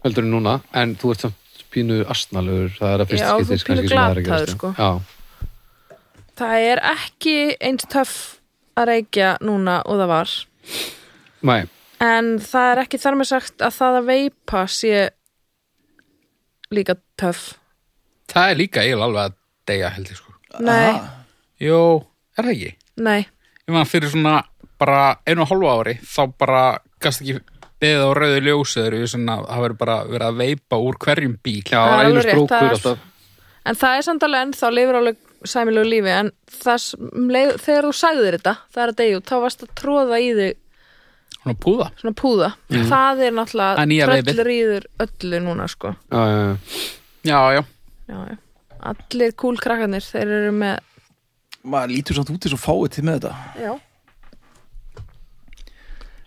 S2: heldur en núna, en þú ert samt pínu astnalur, það er að fyrst
S1: Já, þú
S2: skiptis
S1: pínu
S2: kannski sem það er að
S1: glataður,
S2: gerast.
S1: sko.
S2: Já,
S1: það er ekki eins töff að reykja núna og það var
S2: mæ,
S1: en það er ekki þar með sagt að það að veipa sé líka töff
S4: Það er líka eiginlega alveg að deyja held ég sko.
S1: nei,
S4: Jó, er það ekki?
S1: nei,
S4: Ég man fyrir svona bara einu og hálfu ári þá bara gast ekki beðið á rauðu ljósiður við svona, það verður bara verið að veipa úr hverjum bíl.
S2: já,
S1: Það er
S2: einu
S1: alveg rétt, það
S2: strókur
S1: er-
S2: alltaf.
S1: en það er samt alveg ennþá lifir alveg sæmilegu lífi en það, sem leið, þegar þú sagðir þetta það er að deyju, þá varst að tróða í þig
S4: Hún að púða.
S1: svona púða, það er
S4: Það er nýja
S1: náttúrulega
S4: veipið.
S1: tröllur í þur öllu núna sko
S2: Já, já, já.
S4: Já, já.
S1: já, já. allir cool krakkarnir, þeir eru með
S3: Maður lítur samt út eins og fáið til með þetta
S1: Já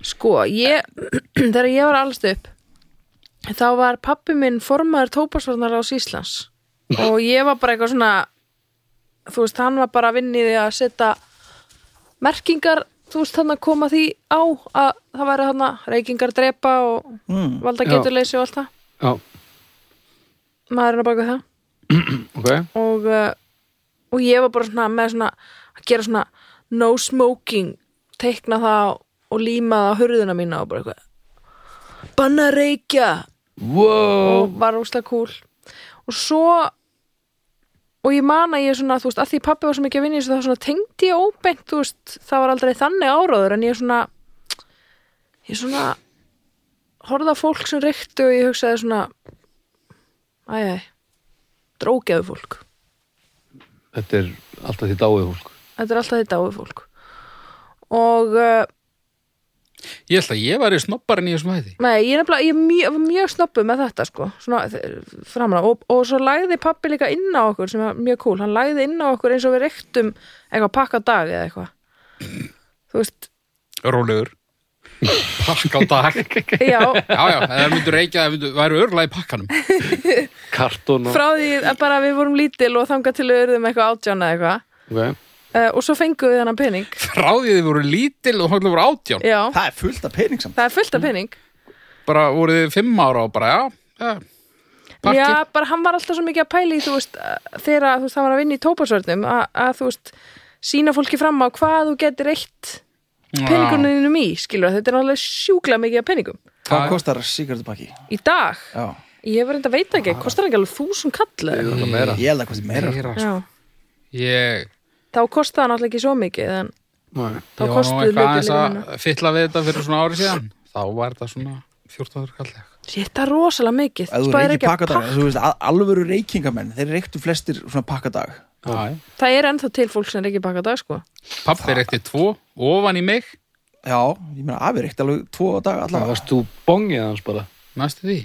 S1: Sko, ég (clears throat) þegar ég var allast upp þá var pappi minn formaður tópasvarnar á Íslands og ég var bara eitthvað svona þú veist, hann var bara að vinna í því að setja merkingar þú veist, þannig að koma því á að það væri þarna reykingar drepa og mm. valda
S2: Já.
S1: geturleysi og allt það
S2: Já,
S1: maðurinn að baka það
S2: ok.
S1: og, uh, og ég var bara svona með svona að gera svona no smoking teikna það og líma það á hurðina mína og bara eitthvað banna að reykja
S2: Wow.
S1: og var úslega cool og svo og ég man að ég svona, þú veist, að því pappi var svo mikið að vinna í þessu þá svona tengdi ég óbeint, þú veist það var aldrei þannig áráður en ég svona ég svona horfði að fólk sem reykti og ég hugsaði svona æjæ, drókjaðu fólk
S2: Þetta er alltaf því dáið fólk.
S1: Þetta er alltaf þetta áður fólk og uh,
S4: Ég held að ég væri snobbarinn í þessum hætti.
S1: nei, ég er nefnilega ég er mjög, mjög snoppu með þetta sko svona, framlega, og, og svo lagði pappi líka inn á okkur sem var mjög cool, hann lagði inn á okkur eins og við reyktum eitthvað pakka á dag eða eitthvað þú veist,
S4: Rólegur. Pakk á dag. (laughs) já,
S1: já
S4: já, ef það myndur reykja, það myndur, væri örla í pakkanum.
S2: Kartón og...
S1: frá því að bara við vorum lítil og þangað til við urðum eitthvað átjána eitthvað
S2: Ok.
S1: uh, og svo fengum við þennan pening
S4: Frá því þið voru lítil og hóðlega voru átján.
S1: já,
S3: Það er fullt af pening samt
S1: það er fullt af pening
S4: Bara voru þið fimm ára og bara, já, já. Pakki.
S1: Já, bara hann var alltaf svo mikið að pæla í, þú veist, að- þegar að, þú veist, hann var að vinna í tópasvörnum, að, að, þú veist, sína fólki fram á hvað þú getur eitt peninguninum í, skilur, þetta er alveg sjúklega mikið að peningum.
S3: Hvað kostar sigartupakki?
S1: Í dag,
S3: Já,
S1: ég hef reynda að veita ekki, kostar hann ekki alveg þúsund kallu?
S2: Þetta meira.
S3: ég held að hvað þið meira
S4: Meira, sko.
S1: Já,
S4: Ég,
S1: þá kostar hann alltaf ekki svo mikið, en
S2: Nei.
S1: þá
S4: ég var nú
S1: kostuðu
S4: eitthvað aðeins
S1: hlutin líka minna.
S4: að fylla við þetta fyrir svona ári síðan. Þá var þetta svona 14. kallega.
S1: Sér, það er rosalega mikið,
S3: Ef þú
S1: spæðir
S3: reykir
S1: ekki að
S3: pakkadag,
S1: pakka.
S3: þú veist, al- alvöru reykingamenn Þeir reyktu flestir svona pakkadag
S4: Já, já.
S1: Það er ennþá til fólk sem reykir pakka dag, sko.
S4: Pappi reykti tvo, ofan í mig,
S3: Já, ég meina afi reykti alveg tvo dag
S2: Það
S3: allavega
S2: varst þú bongið hans bara.
S4: næstu því.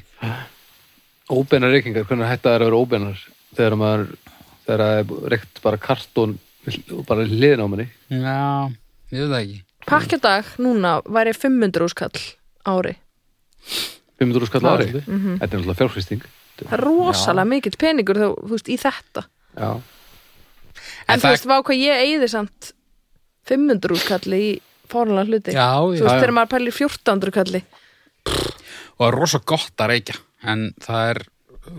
S2: Óbeinar reykingar, hvernig hætta það er að vera óbeinar þegar maður, þegar það er reykt bara kartón og bara hliðin á manni.
S4: Já, ég veit það ekki.
S1: Pakka dag núna væri 500 úrskall ári.
S2: 500 skall
S4: Það er
S2: ári.
S1: Mhm.
S2: Þetta er náttúrulega fjárfristing.
S1: Það er rosalega mikill peningur, þá, þú veist, í þetta.
S2: Já.
S1: En,
S4: En
S1: þú
S4: það-
S1: veist, vá hvað ég eigði samt 500 úrkalli í fórnulega hluti.
S4: Já,
S1: Þú
S4: já.
S1: veist, þegar maður pælir í 1400 kalli.
S4: Og það er rosa gott að reykja, en það er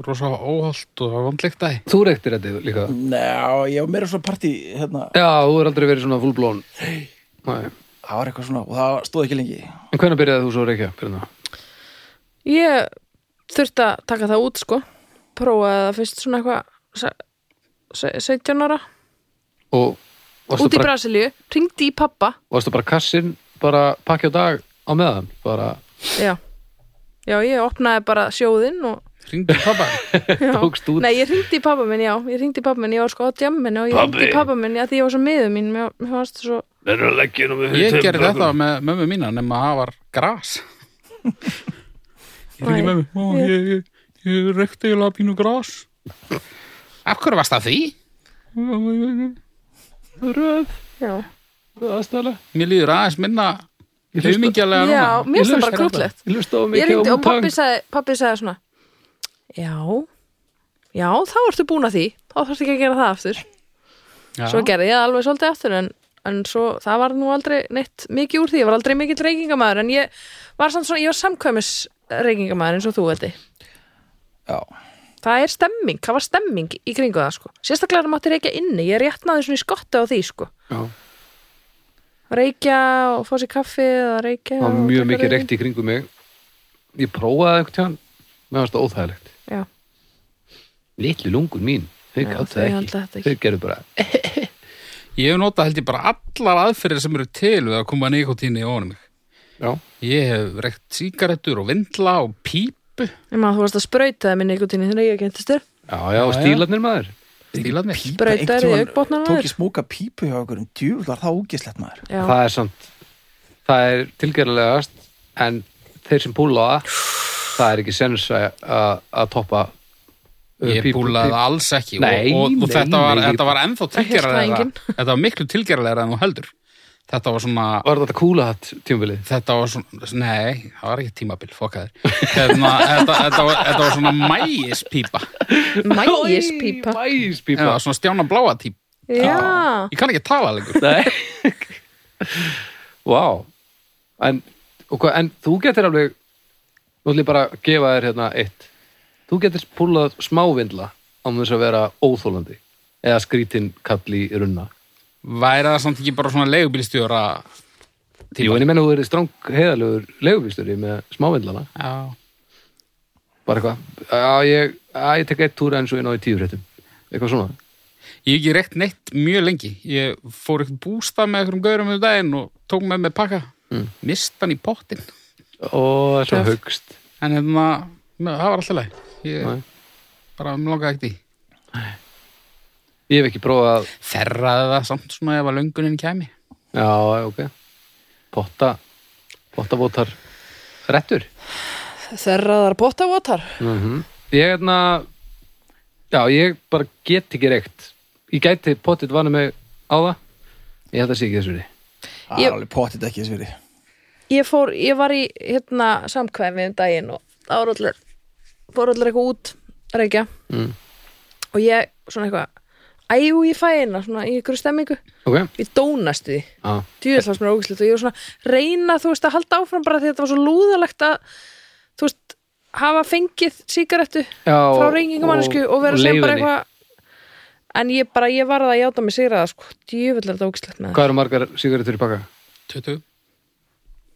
S4: rosa óholt og vandlíkt að því.
S2: Þú reyktir þetta líka.
S3: Ná, ég var meira svona partí hérna.
S2: Já, þú er aldrei verið svona fullblón. Nei.
S3: Það var eitthvað svona og það stóð ekki lengi
S2: En hvernig byrjaði þú svo að reykja? Byrna?
S1: Ég þurfti að taka það út, sko. Prófaði það fyrst svona eitthvað se- se- 17 ára.
S2: Og varstu
S1: Út í
S2: bara,
S1: Brasilíu, ringdi í pappa.
S2: varstu bara kassin, bara pakki á dag á meðan? Bara
S1: Já. Já, ég opnaði bara sjóðinn
S4: (laughs)
S1: og...
S4: Hringdu pappa.
S1: Já.
S2: tókst út?
S1: Nei, ég ringdi í pappa minn, já. Ég ringdi í pappa minn, ég var sko á djamminu og ég ringdi í pappa minn, já, því ég var svo miður mín. Mér, mér fannst svo...
S4: Ég gerði þetta með mömmu mína nema að það var gras. Ég ringi
S1: Nei.
S4: mömmu, "Ó, ég, ég, ég reykti ég laði pínu gras. Af hverju varst það því?
S2: Röð,
S1: Já.
S2: aðstæðlega.
S4: Mér líður aðeins minna
S2: hlusta-
S4: umingjalega núna.
S1: Já, mér
S4: Ég
S1: finnst það
S4: hlusta
S1: bara
S4: hérna.
S1: grútlegt.
S2: Ég hlusta á
S1: ég
S2: mikið á
S1: ringdi og
S2: Wu-Tang.
S1: pappi sagði, pappi sagði svona já já, þá ertu búin að því þá þarfst ekki að gera það aftur
S4: Já.
S1: svo gerði ég það alveg svolítið aftur en, en svo það var nú aldrei neitt mikið úr því, ég var aldrei mikill reykingamæður en ég var samt svona, ég var samkvæmis reykingamæður eins og þú veldi
S3: Já.
S1: það er stemming, það var stemming í kringu það sko, sérstaklega það mátti reykja inni ég réttnaði svona í skotta á því sko
S2: Já.
S1: reykja og fá sér kaffi eða reykja
S2: það var
S1: og
S2: mjög
S1: taka
S2: mikið
S1: reykja.
S2: reykt í kringum mig ég prófaði einhvern tján mér varst það óþægilegt
S1: já,
S2: litlu lungun mín, þau
S1: Já,
S2: gáttu
S1: þau
S2: það
S1: haldið þetta
S2: ekki
S1: ekki.
S2: þau gerðu bara e-
S4: Ég hef notað held ég bara allar aðferðir sem eru til við að koma nikotínu í ónum mig.
S2: já,
S4: Ég hef reykt sígarettur og vindla og pípu
S1: ég maður þú varst að sprauta það minni ykkur tíni þegar ég gentist þér
S2: já, já,
S4: já.
S2: stílarnir maður
S4: stílarnir.
S1: Brautaði í augnbotnana
S3: Tók
S1: þér?
S3: ég smóka pípu hjá einhverjum djúl var það ógislegt maður
S1: já,
S2: það er samt það er tilgerðarlegast en þeir sem púla það, það er ekki sens að- að að toppa uh,
S4: Ég
S2: pípu-
S4: búlaði
S2: pípu-
S4: alls ekki
S2: Nei,
S4: og, og, og
S2: nei,
S4: þetta, var,
S2: nei, ég-
S4: þetta var ennþá
S1: hélt það
S4: tilgerðarlega
S1: enginn.
S4: þetta var miklu tilgerðarlega en þú heldur þetta var svona
S2: var þetta kúla hatt tjumvilið
S4: þetta var svona, nei, það var ekki tímabil fokkaður, hérna, þetta, þetta, var, þetta var svona mægispípa
S1: mægispípa
S2: mægispípa
S4: eða svona stjána bláa típ
S1: já,
S4: ég kann ekki tala lengur
S2: Nei Vá en, og hvað, en þú getur alveg Nú ætlum ég bara að gefa þér hérna eitt Þú getur púlað smávindla án þess að vera óþólandi eða skrítin kall í runna
S4: væri það samt ekki bara svona leigubílstjóra
S2: Jú, en ég menna þú verið strang heiðalegur legubýsturri með smávindlana
S4: já,
S2: bara eitthvað, að ég, að ég tek eitt túra eins og ég náði tíu fréttum eitthvað svona,
S4: ég hef ekki reykt neitt mjög lengi ég fór eitthvað bústað með einhverjum gaurum um daginn og tók með mig pakka mm. mist hann í pottin
S2: og svo
S1: Töff.
S2: högst
S4: en hérna, það var alltaf leið ég
S2: Nei.
S4: bara mér langaði ekkert í
S2: Ég hef ekki prófað,
S4: ferraði það samt svona ef að löngunin kæmi
S2: já, ok Potta, pottavótar rettur
S1: þerraðar pottavotar
S2: Mm Ég hérna Já, ég bara get ekki reykt Ég gæti pottit vanið mig á það Ég held að sé ekki þessu verið
S3: Það
S1: Ég-
S3: er alveg pottit ekki þess verið
S1: ég fór, ég var í hérna samkvæmi um daginn og það voru allir voru allir eitthvað út að reykja
S2: Mm.
S1: og ég svona eitthvað æjú ég fæ eina svona í ykkur stemmingu
S2: Ok,
S1: ég dónast því,
S2: já,
S1: djúðlás mér ógæslegt og ég var svona að reyna þú veist að halda áfram bara því að þetta var svo lúðalegt að þú veist hafa fengið sígarettu
S2: já
S1: frá reykingamannesku og, vera sem bara eitthvað en ég bara, ég var að játa mig sigraða sko, djúðlás þetta ógæslegt með það
S2: Hvað eru margar sigarettur í pakka?
S4: 20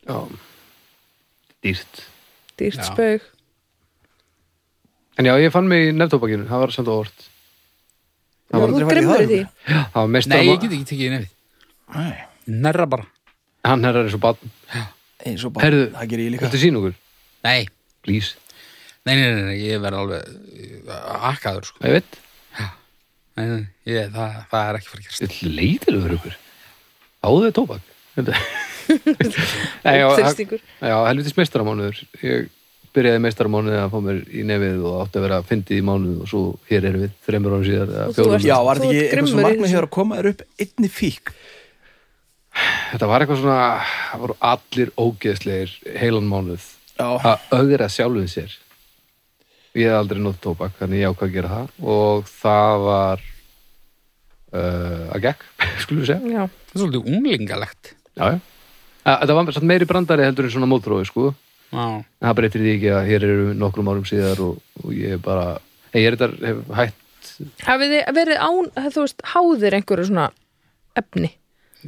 S2: Já Dýrt
S1: dýrt
S4: Já.
S1: spaug
S2: En já, ég fann mig í nefntópakinu, það var samt á orð
S3: Það var
S1: þú
S3: aldrei farið í
S1: grimmur í
S3: það,
S1: því
S2: Það var mest
S4: Nei, ég get ekki tekið í nefið
S3: Nei,
S4: Nerra bara
S2: Hann herrar eins og bann
S3: eins og bara,
S2: Herðu,
S3: það gerir ég líka
S2: þetta sín okkur
S4: Nei,
S2: Please,
S4: nei, nei, nei, nei ég verð alveg akkaður sko.
S2: það ég veit
S4: nei, nei, ég, það, það er ekki fyrir gerast
S2: Þetta leiðilegur okkur Áðu þið tóbak
S1: (laughs)
S2: Nei, já, það-
S1: Þyrstingur.
S2: Já, helvitis meistaramánuður. Ég byrjaði meistaramánuði að fá mér í nefið og átti að vera fyndið í mánuð og svo hér erum við þreymur árum síðar eða
S1: Og þú
S2: fjórum.
S1: ert-
S3: Já, var
S1: Þú
S3: þetta ekki
S1: ert
S3: eitthvað
S1: grimmur
S3: sem
S1: í
S3: markmið
S1: þessu.
S3: hefur að koma þér upp einni fík
S2: Þetta var eitthvað svona, það voru allir ógeðslegir heilan mánuð
S3: Já,
S2: að öðra sjálfum sér. Ég hef aldrei nótt tóbak, þannig ég ákvað að gera það og það var uh, að gekk, (laughs) skulum við segja.
S1: Já,
S4: Það er svolítið unglingalegt
S2: Já, já. Að- Þetta var samt meiri brandari heldur en svona mótrói, sko.
S4: Já,
S2: en það breytir því ekki að hér eru við nokkrum árum síðar og, og ég er bara en ég er þetta hef hætt
S1: hafið þið verið án, þú veist, háðir einhverju svona efni,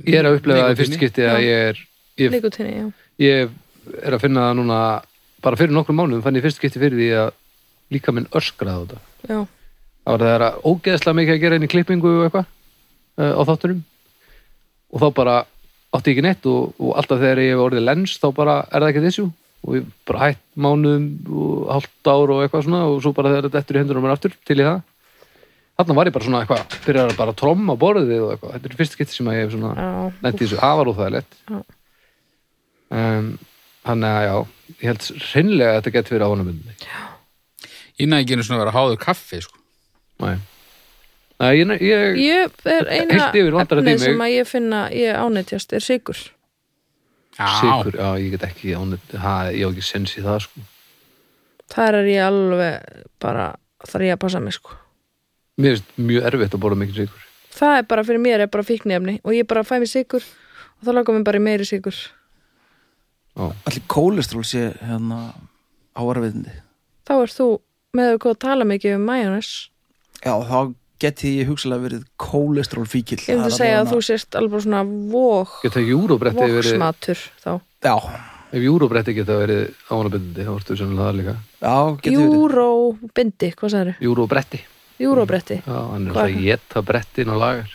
S2: ég er að upplega það í fyrst
S4: Nikótíni.
S2: skipti að ég er ég,
S1: nikotinni, já.
S2: ég er að finna það núna bara fyrir nokkrum mánum fann ég í fyrst skipti fyrir því að líka minn öskraði á þetta
S1: já.
S2: það var það er að ógeðslega mikið að gera inn í klippingu og eitthvað uh, á þáttunum og þá bara átti ég ekki neitt og, og alltaf þegar ég hef orðið lens þá bara er það ekki þessu og ég bara hætt mánuðum og hálft ár og eitthvað svona og svo bara þegar þetta eftir í hendur á mér aftur til í það þarna var ég bara svona eitthvað byrjar að bara tromma borðið og eitthvað þetta er fyrst skipti sem að ég hef svona
S1: Já.
S2: lendi þessu afar og það er lett
S1: Já.
S2: þannig að já ég held hreinlega að þetta geti verið ánumundinni
S4: ég næði ekki einu svona að vera háður kaffi sko.
S2: Nei, Nei ég, ég,
S1: Ég er eina
S2: Heilt yfir vantar þetta í mig.
S1: sem að ég finna, ég ánættjast, er sigur.
S4: Já,
S2: Sigur, já, ég get ekki ánett, ha, ég á ekki sens í það, sko.
S1: Þar er ég alveg bara, þar er ég að passa mig, sko.
S2: Mér finnst mjög erfitt að borða mikið sigur.
S1: það er bara fyrir mér er bara fíknefni og ég bara fæ mér sigur og þá langar mér bara í meiri sigur
S3: Allir kólestról sé hérna áarfiðindi
S1: þá er þú með að góða að tala mikið um majónis
S3: Já, þá geti ég hugsalega verið kólestról fíkil
S1: ég myndi
S3: um
S1: segja að þú sért alveg bara svona vók,
S2: Geta ekki júróbretti verið
S1: vóksmatur þá
S3: Já,
S2: Ef júróbretti geta verið ánabindandi þá ertu sennilega það líka
S3: já, geti verið
S1: júróbindi, hvað sagður?
S2: Júróbretti
S1: júróbretti,
S2: Já, hann er
S1: Hvað er
S2: alltaf að geta brettin og lagar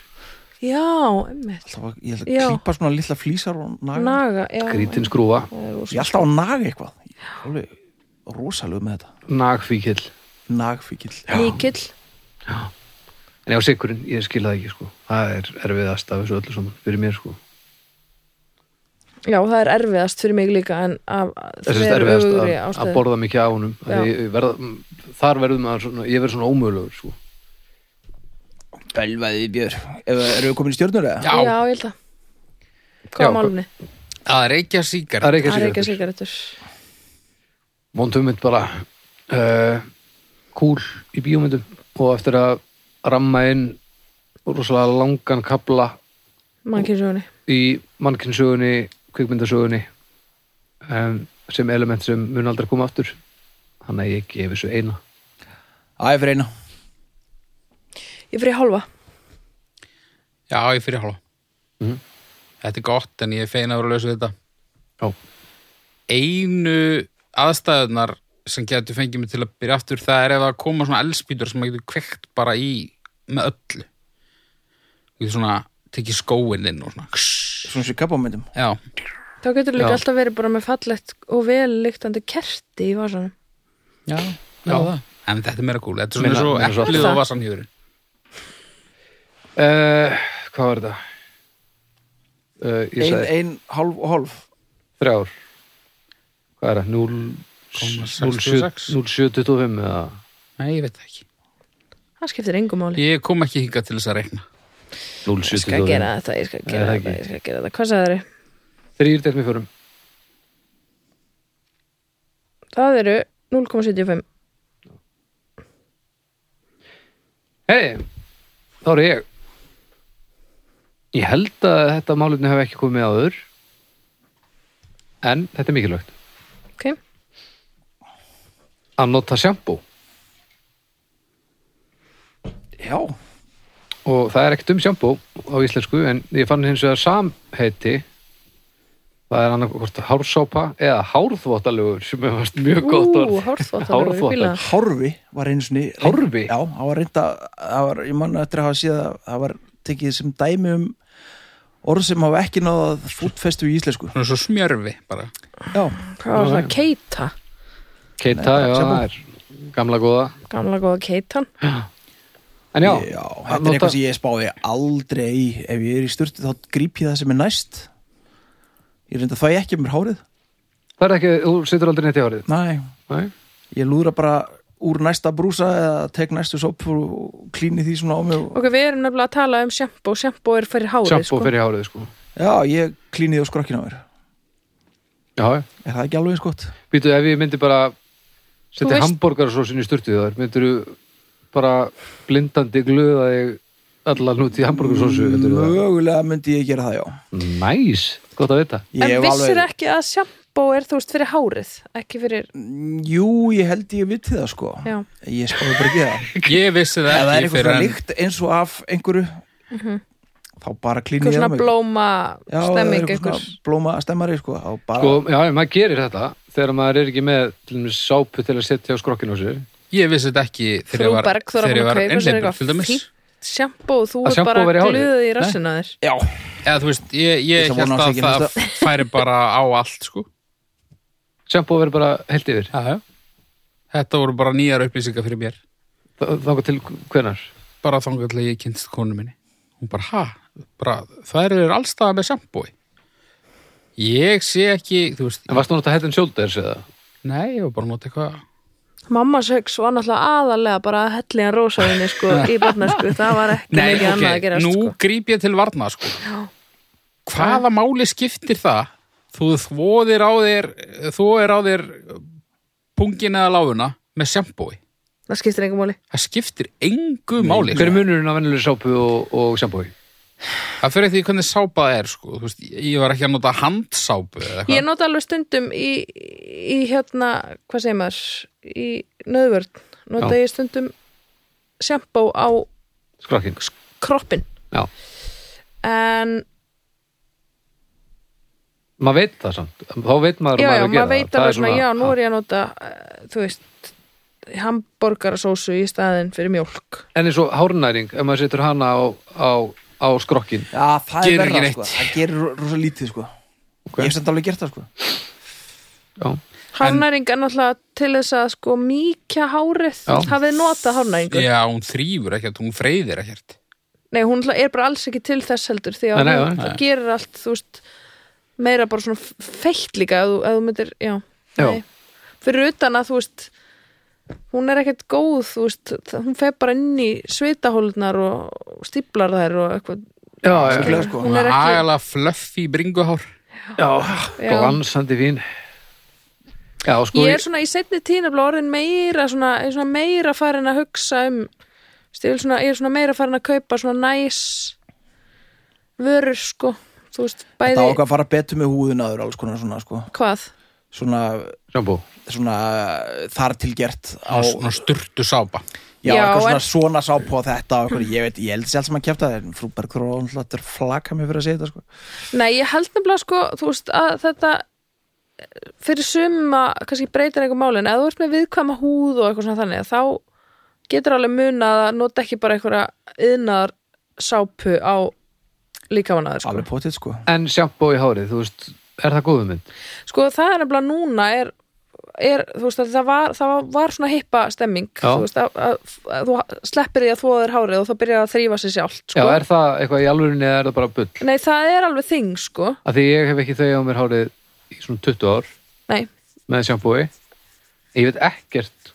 S1: já, emmitt
S3: Alltaf, að- Ég ætla
S1: Já.
S3: að klípa svona lilla flísar og naga
S1: naga, já Eh,
S2: Grítin skrúfa,
S1: það
S3: Ég
S1: er
S3: er
S1: rosa-
S3: alltaf að naga eitthvað Ég er Alveg rosalegu með þetta
S2: nagfíkil
S3: Nagfíkil
S1: mikill,
S2: En já, sigurinn, ég skil það ekki sko Það er erfiðast af þessu öllu saman fyrir mér sko
S1: já það er erfiðast fyrir mig líka en af
S2: Þessi
S1: þeir
S2: er erfiðast
S1: öfugri
S2: að, að
S1: ástæðu.
S2: borða mikið af honum Af
S1: Já.
S2: því ég verð, m, Þar verður maður svona, ég verð svona ómögulegur sko
S3: Belvaði björ Eru við komin í stjörnur eða?
S4: Já,
S1: já, ég held að hvað
S2: Já,
S1: er málumni?
S4: að reykja síkar
S2: Það er ekki
S1: að
S2: að
S1: reyka
S2: sigurinn
S1: sigarettur
S2: Móndum mynd bara uh, Kúl í bíómyndum Og eftir að ramma inn Rosalega langan kabla
S1: mannkynnsögunni
S2: í mannkynnsugunni, kvikmyndasugunni um, sem element sem mun aldrei koma aftur þannig að ég gefi þessu eina
S3: Æ, fyrir eina
S1: ég fyrir hálfa
S4: Já, ég fyrir hálfa Mhm. Þetta er gott en ég er feina að vera að lausa við þetta
S2: Já.
S4: Einu aðstæðunar sem getur fengið mig til að byrja aftur það er ef það koma svona elspýtur sem maður getur kveikt bara í með öllu Getur svona tekið skóinn inn og svona kss.
S3: Svona sér kappamöndum
S4: Já,
S1: þá getur líka
S2: Já.
S1: alltaf verið bara með fallegt og vel lyktandi kerti í vasanum
S4: já, já það En þetta er meira kúl, þetta er svona
S2: Meira-
S4: svo
S2: meira svo-
S4: eplið og vasanhjörun
S2: uh, Hvað var þetta? Uh, ég
S3: Ein,
S2: sagði
S3: ein, hálf og hálf
S2: þrjár Hvað er það? 0
S4: 0,66?
S2: 0725 eða
S4: Nei, ég veit það ekki
S1: það skiptir engum máli
S4: Ég kom ekki hingað til þess að reikna
S1: ég skal
S2: 0,725
S1: gera þetta, ég skal
S2: Nei,
S1: gera
S2: það
S1: þetta,
S2: ekki.
S1: ég skal gera þetta hvað sagður þið?
S2: Þrýr delt mér fórum
S1: það eru 0,75
S2: Hei, þá er ég Ég held að þetta málefni hef ekki komið áður en þetta er mikilvægt
S1: ok,
S2: að nota sjampó
S3: Já,
S2: og það er ekkert um sjampó á íslensku en ég fann hins vegar samheiti það er annarkvort hársápa eða hárþvóttalögur sem er varst mjög gott
S1: ú,
S2: orð (laughs)
S1: hárþvottar
S2: Hárþvottar.
S3: Hárfi var einu sinni
S2: Hárfi?
S3: Já, það var reynda það var, Ég manna eftir að hafa síða Það var tekið sem dæmi um orð sem hafa ekki náðað fútfestu í íslensku
S4: Svona svo smjörfi bara
S3: Já,
S1: hvað var það, keita
S2: Keita, já,
S3: sjampó.
S2: það er gamla góða
S1: gamla góða keitan
S2: en já,
S3: þetta
S2: að
S3: er
S2: nota
S3: eitthvað sem ég spáði aldrei í Ef ég er í sturtu þá gríp ég það sem er næst Ég reynda það ég ekki um mér hárið
S2: það er ekki, þú situr aldrei neitt í hárið
S3: Nei,
S2: Nei.
S3: ég lúðra bara úr næsta brúsa eða tek næstu sopp og klíni því svona á mig og...
S1: ok, við erum nefnilega að tala um sjampó sjampó er fyrir hárið
S2: sjampó
S1: sko.
S2: fyrir hárið sko
S3: Já, ég klíni því á skrokkinu á mér
S2: já,
S3: Er það ekki alveg eins gott?
S2: býtu, ef ég myndi bara
S1: Þú
S2: setja
S1: veist-
S2: hambúrgarsósin í sturtu þar myndir þú bara blindandi glöða þig allan út í hambúrgarsósu
S3: Mögulega myndi ég gera það, já
S2: næs, gott að vita
S3: ég
S1: en
S3: hef
S1: vissir
S3: alveg... Mm.
S1: ekki að sjampó er þú veist fyrir hárið ekki fyrir,
S3: Jú, ég held ég viti það, sko
S1: Já.
S3: Ég spáði bara ekki það
S4: Ég vissi
S3: Ef
S4: það
S3: það er eitthvað
S4: ekki fyrir
S3: svona
S4: en
S3: líkt eins og af einhverju þá bara klíni
S1: Mhm. eitthvað
S3: ég á
S1: svona
S3: mig
S1: blóma
S3: Já, það er
S1: stemming
S3: eitthvað
S1: eitthvað
S3: svona blóma stemmari, sko þá bara...
S2: Sko, já, já, maður gerir þetta þegar maður er ekki með til dæmis sápu til að setja á skrokkinu á sér
S4: Ég vissi þetta ekki þegar
S1: frú
S4: ég var,
S1: Berg þóra
S4: þegar
S1: búin að
S4: ég var
S1: kaupa sér
S4: einhleipur, til
S1: eitthvað
S4: dæmis.
S1: fínt sjampó og þú
S2: Að
S1: er
S2: sjampó
S1: bara
S2: væri í hárið?
S1: glöðið í rassina þér
S3: Já,
S4: Eða þú veist, ég, ég
S3: Ég
S4: held
S3: vona
S4: að
S3: ekki
S4: það
S3: hlusta.
S4: færi bara á allt, sko.
S2: Sjampó verður bara heilt yfir
S4: Já, já. Þetta voru bara nýjar upplýsingar fyrir mér.
S2: Þa- þangað til hvenar
S4: Bara þangað til að ég kynst konu minni. Hún bara, ha? Bara, það eru allstaða með sambói. Ég sé ekki, þú veist,
S2: En varst þú nátt að hættin shoulders eða?
S4: nei, ég var bara að nota eitthvað.
S1: Mamma sex var náttúrulega aðalega bara að helli hann rósaðinni sko í barnasku, það var ekki
S4: Nei,
S1: mikið annað að
S4: ok,
S1: gera
S4: nú
S1: sko.
S4: gríp ég til varna, sko. Já. Hvaða máli skiptir það? Þú þvóðir á þér, þú er á þér pungin eða láfuna með sambói.
S1: það skiptir engum máli
S4: það skiptir engu máli sko.
S2: Hver er munurinn af venjulegri sápu og, og sjambói?
S4: það fyrir því hvernig sápa er sko. Þú veist, ég var ekki að nota handsápu eða
S1: Ég
S4: eitthvað.
S1: nota alveg stundum í, í hérna, hvað segir maður, í nöðvörn. Nota
S2: Já.
S1: ég stundum sjampó á
S2: Skrakkin
S1: kroppin.
S2: Já,
S1: En,
S2: maður veit það samt Þá veit maður
S1: já, já,
S2: að maður er að gera
S1: maður veit
S2: það. Það
S1: alveg
S2: er
S1: svona, já, nú
S2: ha.
S1: er ég að nota, eh, þú veist, hambúrgarasósu í staðin fyrir mjólk.
S2: En eins og hárnæring, ef maður setur hana á, á, á skrokkin
S3: Já, það
S4: Gerir
S3: er
S4: ekki
S3: verra,
S4: neitt.
S3: sko. það gerir ro- rosa lítið sko.
S2: Ok.
S3: ég hef samt alveg gert það sko.
S2: Já,
S1: Hárnæring er náttúrulega til þess að sko mýkja hárið,
S2: Já.
S1: hafið notað hárnæringur.
S4: já, hún þrýfur ekkert, hún freyðir ekkert
S1: Nei, hún náttúrulega er bara alls ekki til þess heldur því að
S2: Nei, nei,
S1: hún
S2: nei.
S1: gerir allt, þú veist meira bara svona f- feitt líka að þú, að þú myndir, já,
S2: Já.
S1: Nei. fyrir utan að þú veist hún er ekkert góð, þú veist það- hún fer bara inn í svitahólunar og stíplar þær og eitthvað
S2: já, já,
S3: Skilja, sko.
S1: Hún
S4: hún
S1: er
S4: er
S1: ekki-
S4: agalega flöffi bringuhár
S2: já,
S1: Já.
S2: glansandi fín Já, sko
S1: ég er svona í setni tínafla orðin meira svona, ég er svona meira farin að hugsa um þú veist, ég, vil svona, ég er svona meira farin að kaupa svona næs vörur sko, þú veist,
S3: það
S1: bæði
S3: ákvað að fara betur með húðun aður alls konar svona, sko.
S1: hvað?
S3: svona,
S2: Sjambó
S3: svona þar til gert á,
S4: svona sturtu sápa
S3: já,
S1: Já,
S3: eitthvað
S1: en-
S3: svona, svona sá på þetta og eitthvað, ég veit, ég held sér alls maður kæfta það en frú Bergþór og hún hlattur flaka mér fyrir að segja þetta sko.
S1: Nei, ég held nefnilega sko, þú veist, að þetta fyrir suma kannski breytir einhver málin, eða þú ert með viðkvæma húð og eitthvað svona þannig, þá getur alveg muna að nota ekki bara einhverja yðnar sápu á líkamannaður sko.
S3: alveg potið sko
S2: En sjambó í hárið, þú veist, er það góðum mynd?
S1: Sko, það er nefnilega núna er, er þú veist, að það var, það var- var svona hippa stemming,
S2: Já.
S1: þú veist, að, að, að þú sleppir því að þvoða þér hárið og þá byrjar það að þrýfa sér sjálft,
S2: Já,
S1: sko.
S2: er það eitthvað í alvörunni eða er það bara bull?
S1: Nei, það er alveg þing, sko.
S2: Af því ég hef ekki þau á mér hárið í svona 20 ár
S1: Nei,
S2: með sjampói ég veit ekkert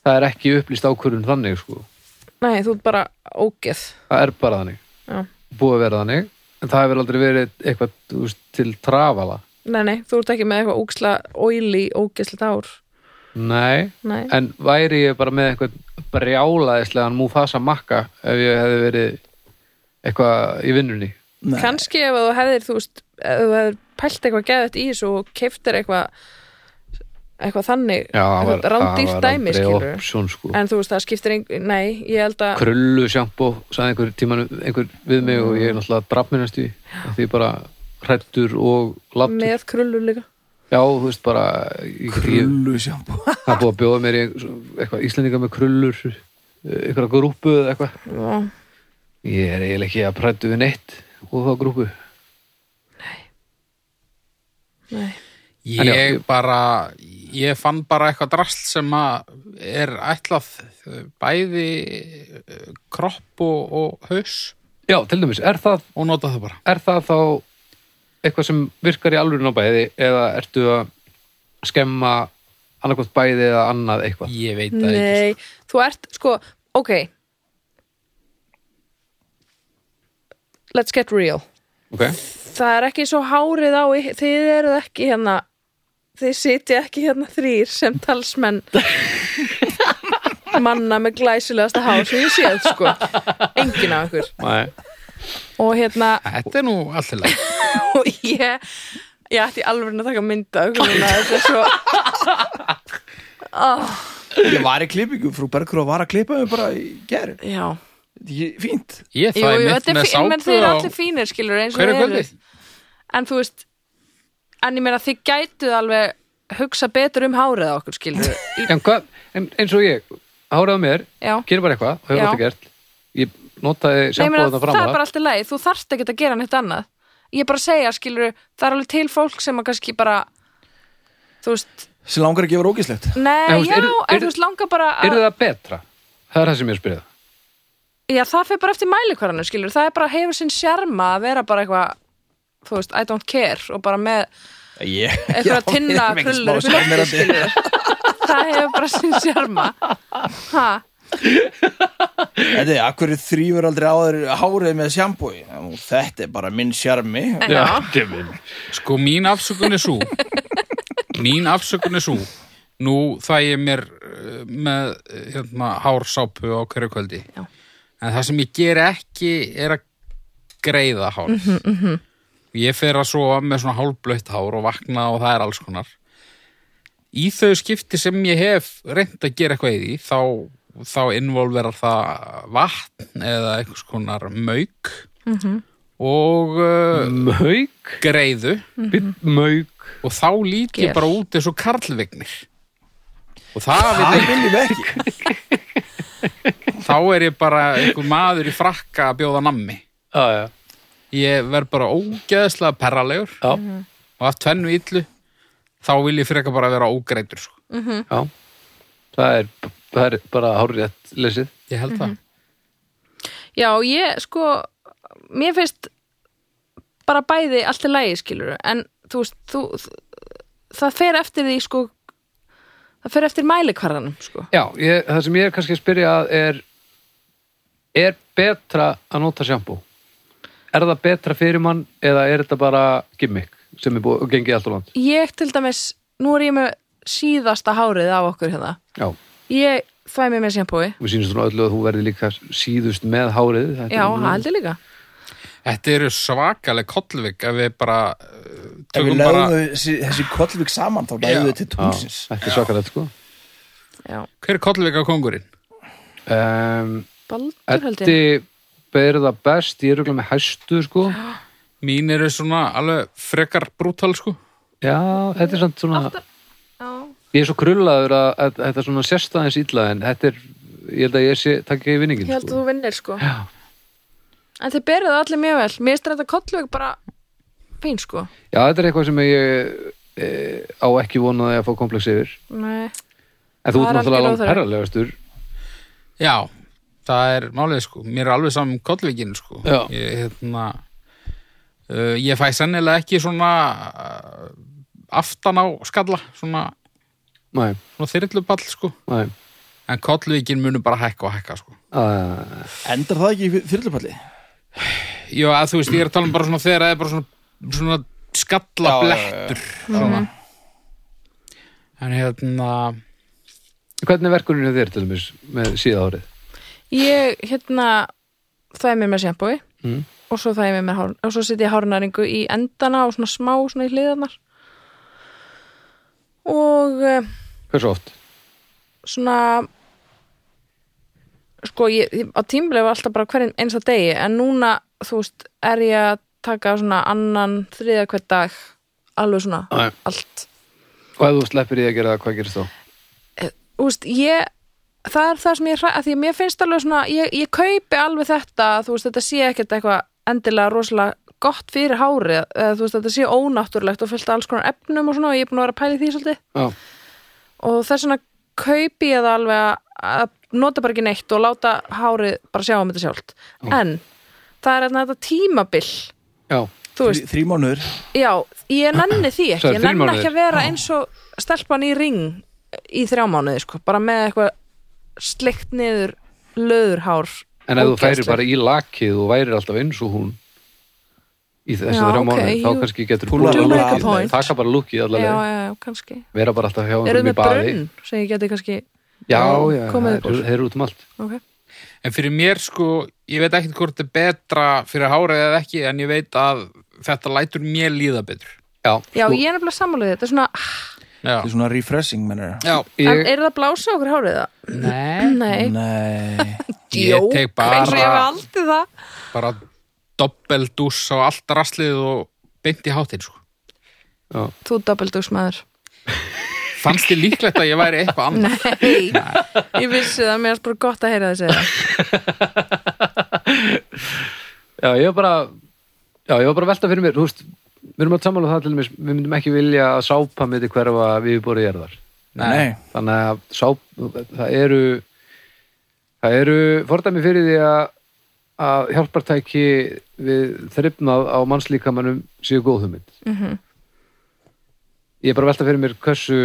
S2: það er ekki upplýst ákvörðun þannig sko.
S1: nei, þú ert bara ógeð.
S2: það er bara þannig,
S1: Já.
S2: búið að vera þannig en það hefur aldrei verið eitthvað þú veist, til trafala
S1: Nei, nei, þú ert ekki með eitthvað ógisla oily, ógislegt ár
S2: Nei,
S1: Nei,
S2: en væri ég bara með eitthvað brjálaðislegan Mufasa makka ef ég hefði verið eitthvað í vinnunni
S3: Nei,
S1: kannski ef þú hefðir þú veist, ef þú hefðir pælt eitthvað geðvægt í þessu og keiftir eitthvað eitthvað þannig
S2: það
S1: eitthvað rándýrt dæmi skilur
S2: option, sko.
S1: en þú veist, það skiptir einhver, nei, ég held að
S2: krullu sjampó sagði einhver tíman einhver við mig og ég er náttúrulega drafminnast í því ég bara hrættur og láttur
S1: með krullur líka
S2: Já, þú veist bara ég, ég,
S3: krullu sjámbú
S2: það er búið að bjóða mér í eitthvað Íslendinga með krullur eitthvað grúpu eða eitthvað
S1: Já.
S2: ég er eiginlega ekki að prættu við neitt og þá grúpu
S1: nei,
S2: En já,
S4: ég bara ég fann bara eitthvað drast sem að er ætlað eh, bæði eh, kropp og, og haus
S2: Já, til dæmis, er það,
S4: og nota það bara
S2: er það þá eitthvað sem virkar í alvöru á bæði eða ertu að skemma annarkvæmt bæði eða annað eitthvað
S4: ég veit það ekki
S1: nei. þú ert, sko, ok let's get real
S2: okay.
S1: það er ekki svo hárið á í- þið eruð ekki hérna þið sitja ekki hérna þrýr sem (laughs) talsmenn manna með glæsilegasta hár sem ég séð sko engin af ykkur
S2: Nei.
S1: og hérna
S4: þetta er nú alltaf
S1: og ég ég ætti alveg að taka mynda ykkur núna þetta er svo
S3: (laughs) ég var í klippingu, frú Bergþór var að klippa mig bara í ger,
S1: (laughs) já
S3: fínt
S4: ég
S1: Jú,
S4: þæði
S1: jú,
S4: mitt
S1: þetta er
S4: með
S1: fín, menn
S4: sápu
S1: þeir eru
S4: á
S1: allir fínir skilur eins og
S4: hverju
S1: þeir eru
S4: kvöldi
S1: en þú veist en ég meina þið gætuð alveg hugsa betur um hárið á okkur
S4: (laughs)
S1: skilur
S2: en, hvað- en eins og ég, hárað mér
S1: já
S2: gerir bara eitthvað, hefur
S1: Já.
S2: alltaf gert ég notaði
S1: Nei, ég meina,
S2: sjampóðan
S1: það
S2: fram
S1: er bara alltaf leið, þú þarft ekki að gera neitt annað ég er bara að segja, skilur það er alveg til fólk sem að kannski bara þú veist,
S3: sem langar að gefa rókislegt
S1: nei,
S2: Nei, þú veist,
S1: já
S2: eru-
S1: en
S2: eru-
S1: þú veist, langar bara að,
S2: Er það betra? Það er það sem ég er að spyrja það.
S1: já, það fer bara eftir mælikvarðanum, skilur, það er bara hefur sinn sjarma að vera bara eitthvað þú veist, I don't care og bara með
S3: yeah.
S1: eitthvað að tinna krullur upp í loftið, (laughs) skilur. það hefur bara sinn sjarma ha,
S3: Þetta er, akkur þrýfur aldrei áður hárið með sjambói Þetta er bara minn sjarmi
S1: já,
S4: Sko mín afsökun er svo Mín afsökun er svo Nú það ég mér uh, uh, með uh, hérna, hársápu á hverju kvöldi
S1: Já.
S4: en það sem ég ger ekki er að greiða hár mm -hmm, mm ég fer að sofa með svona hálblöytt hár og vakna og það er alls konar í þau skipti sem ég hef reynd að gera eitthvað í því þá, þá involverar það vatn eða einhvers konar mauk og uh,
S2: Mauk,
S4: greiðu
S1: Mhm.
S2: bit mauk
S4: og þá lít ég
S1: Ger.
S4: bara út eins og karlvignir og það
S3: Það
S4: veit
S3: viljum við ekki
S4: ég þá er ég bara einhver maður í frakka að bjóða nammi
S2: Já, já,
S4: ég verð bara ógeðslega perralegur
S2: já,
S1: Mhm.
S4: og að tvennu illu þá vil ég freka bara vera ógreitur sko.
S2: já Það er, það er bara hárétt lesið
S4: ég held það
S1: Já, ég sko mér finnst bara bæði allt í lægi skilur en þú veist, þú, það fer eftir því sko það fer eftir mælikvarðanum sko
S2: Já, ég, það sem ég er kannski að spyrja að er er betra að nota sjampú? Er það betra fyrir mann eða er þetta bara gimmick sem er búið, gengið allt á land?
S1: ég til dæmis, nú er ég með síðasta hárið af okkur hérna
S2: Já,
S1: ég þvæ mig með sjampói
S2: við sýnum svona öllu að þú verði líka síðust með hárið þetta
S1: Já,
S2: er nú-
S1: það heldur líka
S4: þetta eru svakaleg kollvik ef við bara uh,
S3: Ef við
S4: tökum
S3: lögum
S4: bara,
S3: þessi, þessi kollvík saman þá
S4: Já.
S3: lögum við til
S2: Já,
S3: tónsins
S2: Þetta er svakalegt sko
S1: Já,
S4: hver er kollvik á kongurinn?
S2: um,
S1: baldur held ég
S2: Eddi ber það best, ég er auðvitað með hæstu sko
S4: mín eru svona alveg frekar brútal sko
S2: Já, þetta er samt svona
S1: Já,
S2: Ég er svo krullaður að, að, að þetta er svona sérstæðins illa en þetta er, ég held að ég sé takk í vinningin
S1: ég held að
S2: sko.
S1: þú vinnir sko
S2: Já.
S1: En þið berið það allir mjög vel Mér finnst þetta kollveg bara fín sko
S2: Já, þetta er eitthvað sem ég e, á ekki vonaði að fá komplex yfir
S1: Nei
S2: En
S1: Það
S2: þú ert
S1: er
S2: náttúrulega
S1: algjör
S2: langt
S1: óþarfi.
S2: perralegastur
S4: Já, það er málið sko Mér er alveg saman um kollvíkinu sko
S2: Já.
S4: Ég, hérna, uh, ég fæ sennilega ekki svona uh, aftan á skalla svona,
S2: Nei,
S4: svona þyrlupall sko
S2: nei
S4: En kollvíkin munur bara hækka og hækka sko
S2: að,
S3: Endar það ekki í þyrlupalli?
S4: Jó, að þú veist, ég er að tala um bara svona þegar það er bara svona, svona skalla blettur svona En hérna
S2: Hvernig er verkuninu þér til dæmis með síða árið?
S1: Ég, hérna, það er mér með sjampói
S2: Mm.
S1: og svo það er mér með hár og svo setja ég hárnæringu í endana og svona smá svona í hliðarnar og eh,
S2: Hversu oft?
S1: svona sko, ég, ég- á tímlega var alltaf bara hverjum einsta degi en núna, þú veist, er ég að taka svona annan, þriða hver dag alveg svona,
S2: Nei.
S1: allt
S2: Og ef þú sleppir því að gera það, hvað gerist þá?
S1: þú veist, ég það er það sem ég hræ, að því að mér finnst alveg svona ég, ég kaupi alveg þetta, þú veist, þetta sé ekkert eitthvað endilega rosalega gott fyrir hárið, eða þú veist, þetta sé ónáttúrulegt og fyllt af alls konar efnum og svona og ég er búin að vera að pæla í því svolítið
S2: Já,
S1: og þess vegna kaupi ég það alveg að- að nota bara ekki neitt og láta hárið bara sjá um þetta sjálft en það er hérna þetta tímabil
S2: já,
S1: þú veist,
S3: Þrý mánuður
S1: já, ég nenni því ekki
S2: Sagði
S1: ég
S2: þrír
S1: nenni ekki
S2: mánuðir.
S1: að vera eins og stelpan í ring í þrjá mánuði sko, bara með eitthvað slikt niður löðurhár
S2: en ef þú færir
S1: ógeðslegt.
S2: bara í lakið og værir alltaf eins og hún í þessi
S1: Já,
S2: þrjá
S1: ok,
S2: mánuði, þá
S1: jú.
S2: kannski getur
S3: Púlar
S2: púlað
S3: alveg
S2: lookið.
S3: alla leið.
S2: taka bara lúkið
S1: já,
S2: allavega,
S1: já, já, kannski
S2: vera bara alltaf hjá
S1: eru
S2: einhverjum í
S1: með
S2: baði
S1: brunn sem ég geti kannski
S2: Já, já,
S1: Komið upp úr.
S2: þeir eru út um allt
S1: okay.
S4: En fyrir mér sko, ég veit ekkert hvort þetta er betra fyrir hárið eða ekki en ég veit að þetta lætur mér líða betur
S2: Já,
S1: já,
S2: sko,
S1: ég er nefnilega sammálaðið þetta er svona,
S4: Já,
S3: Þetta er svona refreshing, mennur
S4: já
S1: en
S2: ég,
S1: er það að blása okkur hárið það?
S4: Nei,
S1: (clears throat) nei,
S3: Nei
S4: ég tek
S1: eins og ég hef
S4: bara,
S1: aldrei það
S4: bara dobbeldús á allt raslið og beint í hátinn sko.
S1: þú doppeldugsmæður
S4: Fannst þið líklegt að ég væri eitthvað annað?
S1: (laughs)
S2: (laughs)
S1: Nei, ég vissi það, mér er bara gott að heyra þessi
S2: já, ég var bara Já, ég var bara að velta fyrir mér, þú veist Við erum að sammála um það til mér, við myndum ekki vilja að sápa með því hverfa við búið jarðar
S3: Nei,
S2: Þannig að sáp, það eru það eru fordæmi fyrir því að, að hjálpartæki við þrifnað á mannslíkamannum séu góðhumynd mm -hmm. Ég er bara að velta fyrir mér hversu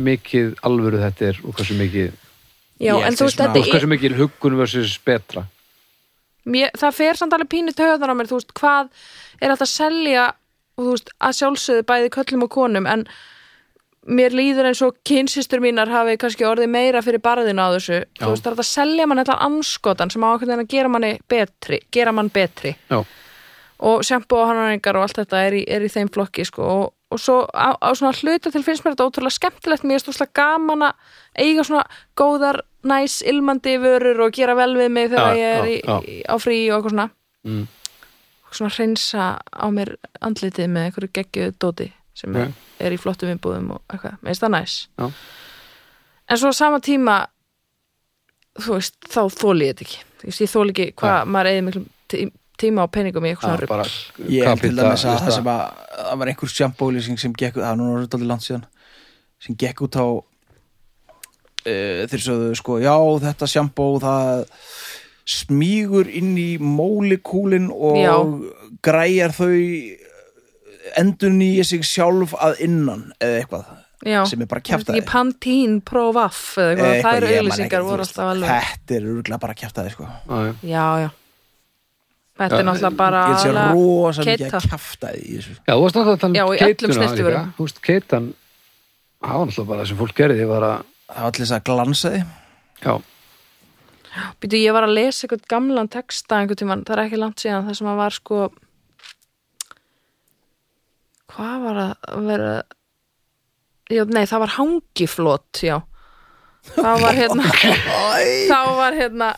S2: mikið alvöru þetta er og hversu mikið
S1: Já,
S4: Ég
S1: en þú
S4: sé
S1: veist,
S4: smá.
S2: og
S1: þetta
S2: hversu
S1: er
S2: mikið huggun versus betra
S1: mér, það fer samt alveg pínu töðan á mér, þú veist, hvað er hægt að selja og þú veist, að sjálfsögðu bæði köllum og konum en mér líður eins og kynsistur mínar hafi kannski orðið meira fyrir barðinu á þessu
S2: Já.
S1: þú veist það er hægt að selja mann allan anskotan sem á einhvern veginn að gera manni betri gera mann betri
S2: já,
S1: og sjampo og hanarengar og allt þetta er í, er í þeim flokki sko og, og svo á, á svona hluta til finnst mér þetta ótrúlega skemmtilegt mér er stúrslega gaman að eiga svona góðar, næs, ilmandi vörur og gera vel við mig þegar
S2: Já,
S1: ég er
S2: já,
S1: í,
S2: já.
S1: Í, á frí og eitthvað svona
S2: Mm.
S1: og svona hreinsa á mér andlitið með einhverju geggjöðu dóti sem
S2: Já.
S1: er í flottum innbúðum og eitthvað, mér finnst það næs
S2: Já.
S1: en svo á sama tíma þú veist, þá þóli ég þetta ekki þú veist, ég þóli ekki hvað maður eigi miklum tí- tíma og peningum í eitthvað svona
S2: já,
S1: rugl.
S2: bara
S3: Ég held til
S2: kapita-
S3: dæmis að það
S2: lista.
S3: sem að það var einhver sjampólýsing sem gekk það er nú orðið dálítið langt síðan sem gekk út á uh, þeir sögðu sko, já þetta sjampó það smýgur inn í mólikúlin og
S1: Já.
S3: græjar þau endur nýja sig sjálf að innan eða eitthvað
S1: Já.
S3: sem er bara
S1: Er þetta
S3: kjaftaði
S1: ekki Pantín Pro Vaff eða eitthvað,
S3: Eitthvað,
S1: það eru
S3: ég man
S1: auðlýsingar
S3: ekkert, þú
S1: voru
S3: veist,
S1: alltaf alveg
S3: þetta er örgulega bara kjaftaði sko.
S2: Já, já.
S1: já, já þetta er
S2: Já,
S1: náttúrulega bara
S3: ég sé
S1: aðallega
S3: rosa mikið
S1: keita.
S3: að kjaftaði í þessu
S2: Já, þú varst náttúrulega að
S1: Já,
S2: tala
S1: og
S2: um
S1: í
S2: keituna
S1: öllum snyrtivörum.
S2: líka. Þú veist, keitan það var náttúrulega bara sem fólk gerði var að,
S3: það var allir þess að glansa því
S2: já,
S1: Býtu, ég var að lesa eitthvað gamlan texta einhvern tímann, það er ekki langt síðan það sem að var sko hvað var að vera já, nei, það var hangiflót já, það var
S4: (laughs)
S1: hérna þá var hérna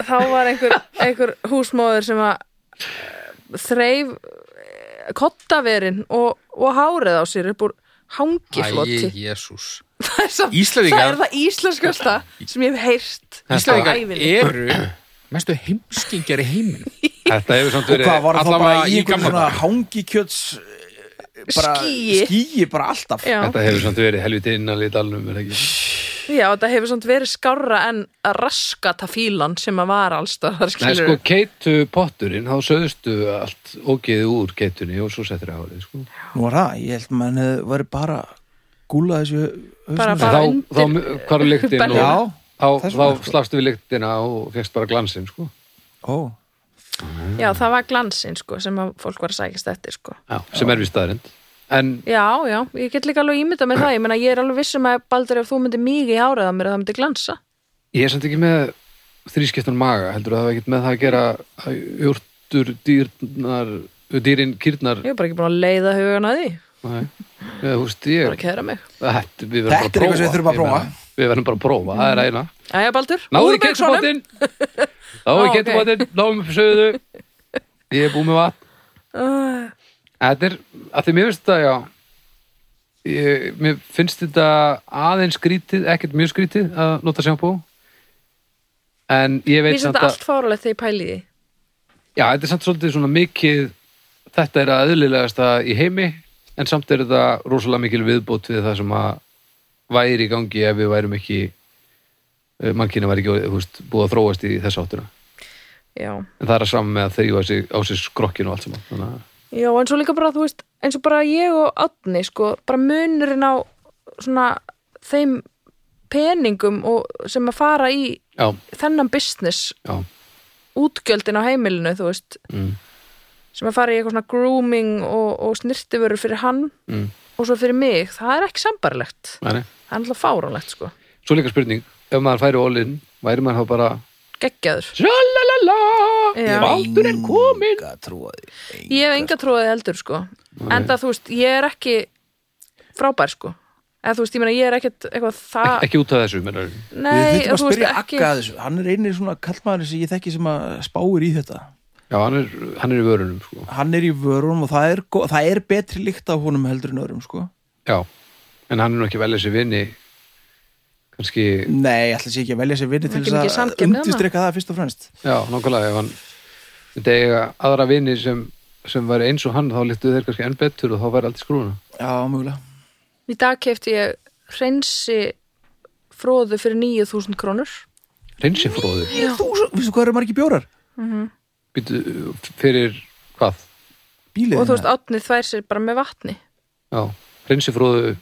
S1: þá var einhver, einhver húsmóður sem að eh, þreif eh, koddaverin og, og hárið á sér upp úr hangiflóti
S4: Æ, jésús
S1: (laughs) það er, samt- það,
S4: Íslendingar-
S1: er það íslenskasta sem ég hef heyrt á
S4: Íslandingar
S1: ævinni.
S4: eru mestu heimskingjar í heiminum
S2: þetta hefur samt
S3: og
S2: verið
S3: hvað var það
S4: Allavega
S3: bara í
S4: í
S3: einhverjum
S4: gamla
S3: svona hangikjöts eh, bara,
S1: Skýi.
S3: skýi bara alltaf
S1: Já.
S2: þetta hefur samt verið helviti innan í dalnum er ekki?
S1: Já, þetta hefur samt verið skárra en raskata fílan sem að var allstað
S2: Nei, sko, keitu potturinn þá söðustu allt ógeðið úr keitunni og svo settir það hárið, sko
S3: nú var það, ég held mann hefði verið bara gúla þessu hausnum.
S1: Bara-
S2: En þá,
S1: undir-
S2: þá hvar er lyktin
S1: Bellina.
S2: og þá,
S3: þess
S2: þá
S3: vegna, sko.
S2: slafstu við lyktina og fegst bara glansinn, sko
S3: ó,
S1: Já, það var glansin sko sem að fólk var að sækjast eftir sko
S2: já. sem er við staðarind en
S1: Já, já, ég get líka alveg ímyndað mér það ég meina ég er alveg vissum að Baldur ef þú myndir mikið í hárið á mér að það myndi glansa
S2: ég er samt ekki með þrískiptan maga, heldur það hafa ekkert með það að gera að jórtur dýrnar dýrin kýrnar
S1: Ég er bara ekki búin að leiða hugan að því
S2: Nei, Eða, þú veist, ég
S1: bara að kæra mig
S2: Þetta, við verðum
S3: Þetta er
S2: bara
S3: eitthvað sem við þurfum að
S2: Ég meina, Við verðum bara að prófa, það er eina
S1: Æja, Baldur,
S2: Náðu í
S1: Úrbergsson
S2: ketchupotinn Náðu
S1: Ó,
S2: í
S1: ok.
S2: ketchupotinn, náðum upp sögðu Ég er búið með vatn Þetta er, að því mér finnst þetta, já ég, Mér finnst þetta aðeins skrítið, ekkert mjög skrítið að nota sjampó En ég
S1: Mér
S2: veit
S1: finnst
S2: samt
S1: þetta
S2: að
S1: allt fáralegt þegar ég pæli í því
S2: Já, þetta er samt svolítið svona mikið Þetta er að eðlilegasta í heimi En samt er þetta rosalega mikil viðbót við það sem að væri í gangi ef við værum ekki mannkynni væri ekki þú veist, búið að þróast í þess áttuna
S1: Já,
S2: en það er að saman með að þrýfa sig á sig skrokkin og allt saman þannig að
S1: Já, en svo líka bara, þú veist, eins og bara ég og Átni, sko, bara munurinn á svona þeim peningum og, sem að fara í
S2: já,
S1: þennan business,
S2: já,
S1: útgjöldin á heimilinu, þú veist,
S2: mm,
S1: sem að fara í eitthvað svona grooming og, og snirtivörur fyrir hann
S2: mm,
S1: og svo fyrir mig, það er ekki sambarlegt.
S2: nei, nei.
S1: Það er alltaf fáránlegt, sko.
S2: Svo líka spurning, ef maður færi ólinn væri maður þá bara
S1: Geggjaður.
S2: Sjalalala,
S1: Já.
S2: bátur er komin
S3: enga trúa því
S1: Ég hef enga tróðið heldur, sko. Enda, þú veist, ég er ekki frábær, sko. Eða, þú veist, ég meina, ég er ekkert eitthvað það...
S2: Ekki út af þessu,
S1: Nei,
S2: mennar
S3: við þurfum að
S1: þú veist,
S3: spyrja
S1: ekki-
S3: Akka að þessu hann er einir svona kallmaður sem ég þekki sem að spáir í þetta
S2: Já, hann er, hann er í vörunum sko.
S3: hann er í vörunum og það er, go- það er betri líkt af honum heldur en öðrum sko.
S2: Já, en hann er nú ekki vel þessi vini kannski,
S3: nei, ætla sé ekki að velja sér vinni til
S1: Ekki mikið
S3: þess að
S1: samkeppni þarna.
S3: undistreka það fyrst og fremst
S2: já, nákvæmlega ef hann myndi eiga aðra vini sem, sem væri eins og hann, þá líktu þeir kannski enn betur og þá væri allt í skrúna
S3: já, mjögulega
S1: Í dag kefti ég hreinsi fróðu fyrir 9000 krónur.
S2: Reynsifróður,
S3: þú, veistu hvað eru margir bjórar?
S2: býtu fyrir hvað?
S3: bílið
S1: Og þú veist, átni þvær sér bara með vatni.
S2: Já, reynsifróðu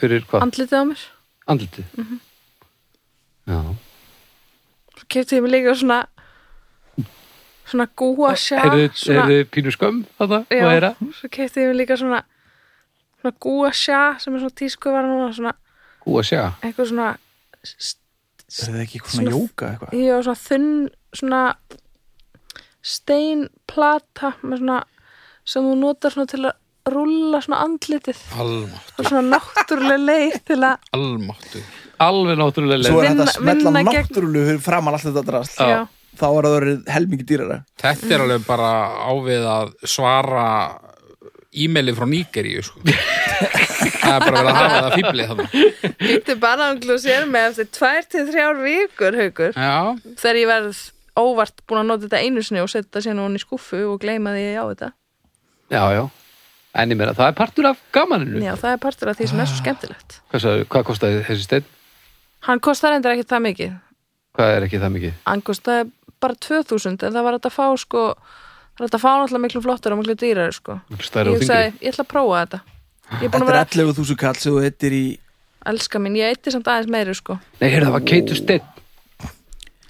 S2: fyrir hvað?
S1: Andlitið Mhm. á mér.
S2: Andlitið Já,
S1: Svo kefti ég mig líka svona svona gúa sjá.
S2: er þið, er þið pínu skömm þarna,
S1: já,
S2: væra?
S1: Svo kefti ég mig líka svona svona svona gúa sjá sem er svona tísku var núna svona
S2: Gú að sjá.
S1: eitthvað svona s-
S3: Er það ekki eitthvað svona
S1: Svona-
S3: jóka eitthvað?
S1: ég var svona þunn svona steinplata með svona sem þú notar svona til að rúlla svona andlitið
S4: Almátt,
S1: og svona náttúrulega leið til að
S4: almáttu
S2: Alveg náttúrulega
S3: Svo
S2: leið.
S3: er
S1: Vinna-
S3: þetta að smetla
S1: vinna gegn-
S3: náttúrulega gegn... framan allt þetta drast
S1: já,
S3: Þá er það verið helmingi dýrara
S4: Þetta er alveg bara ávið að svara e-maili frá Nígeríu sko. Það er bara verið að hafa það fíblið þarna
S1: býttu bara um glúsér með eftir tvær til þrjár vikur haukur
S4: Já,
S1: þegar ég verð óvart búin að nota þetta einu sinni og setja sérna hún í skúffu og gleyma því að ég á þetta
S2: Já, já. En ég meina, það er partur af gamaninu.
S1: já, það er partur af því sem er
S2: Ah.
S1: svo skemmtilegt
S2: Hvað, sagði, hvað kostaði þessi stein?
S1: hann kostar endur ekkert það mikið
S2: Hvað er ekki það mikið?
S1: hann kostaði bara 2000 en það var þetta að fá sko það var þetta að fá náttúrulega miklu flottur og miklu dýrar sko.
S2: Stærri og
S1: ég
S2: þingri.
S1: sagði, ég ætla að prófa þetta ég er búin
S3: Þetta
S1: að
S3: er
S1: vera
S3: 11.000 kall sem þú eittir í
S1: elska mín, ég eitti samt aðeins meiri sko.
S2: Nei, heyrðu, það var keitu stein.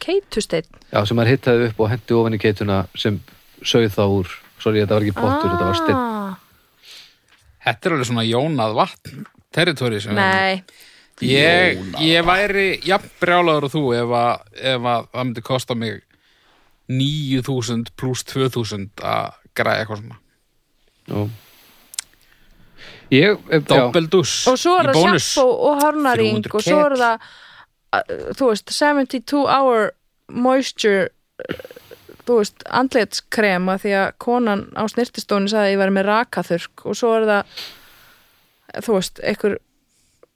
S1: keitusteinn,
S2: Já, sem maður hittaði upp og hendi ofan í keituna sem sögð þá úr. Sorry, þetta var ekki pottur, þetta var stein.
S1: Ah.
S4: þetta er alveg svona jónað vatn territóri sem
S1: nei,
S4: ég, ég væri jafn brjálaður og þú ef að, ef að það myndi kosta mig 9.000 pluss 2.000 að græja eitthvað svona
S3: Ah.
S2: Nú. Ég, eh, já,
S4: Doppelduss
S1: og svo er það
S4: í bónus
S1: sjampó og hornaring
S4: 300
S1: og svo er
S4: kall.
S1: það uh, þú veist, 72 hour moisture uh, þú veist, andlitskrem að því að konan á snirtistóni sagði að ég væri með rakaþurrk og svo er það þú veist, einhver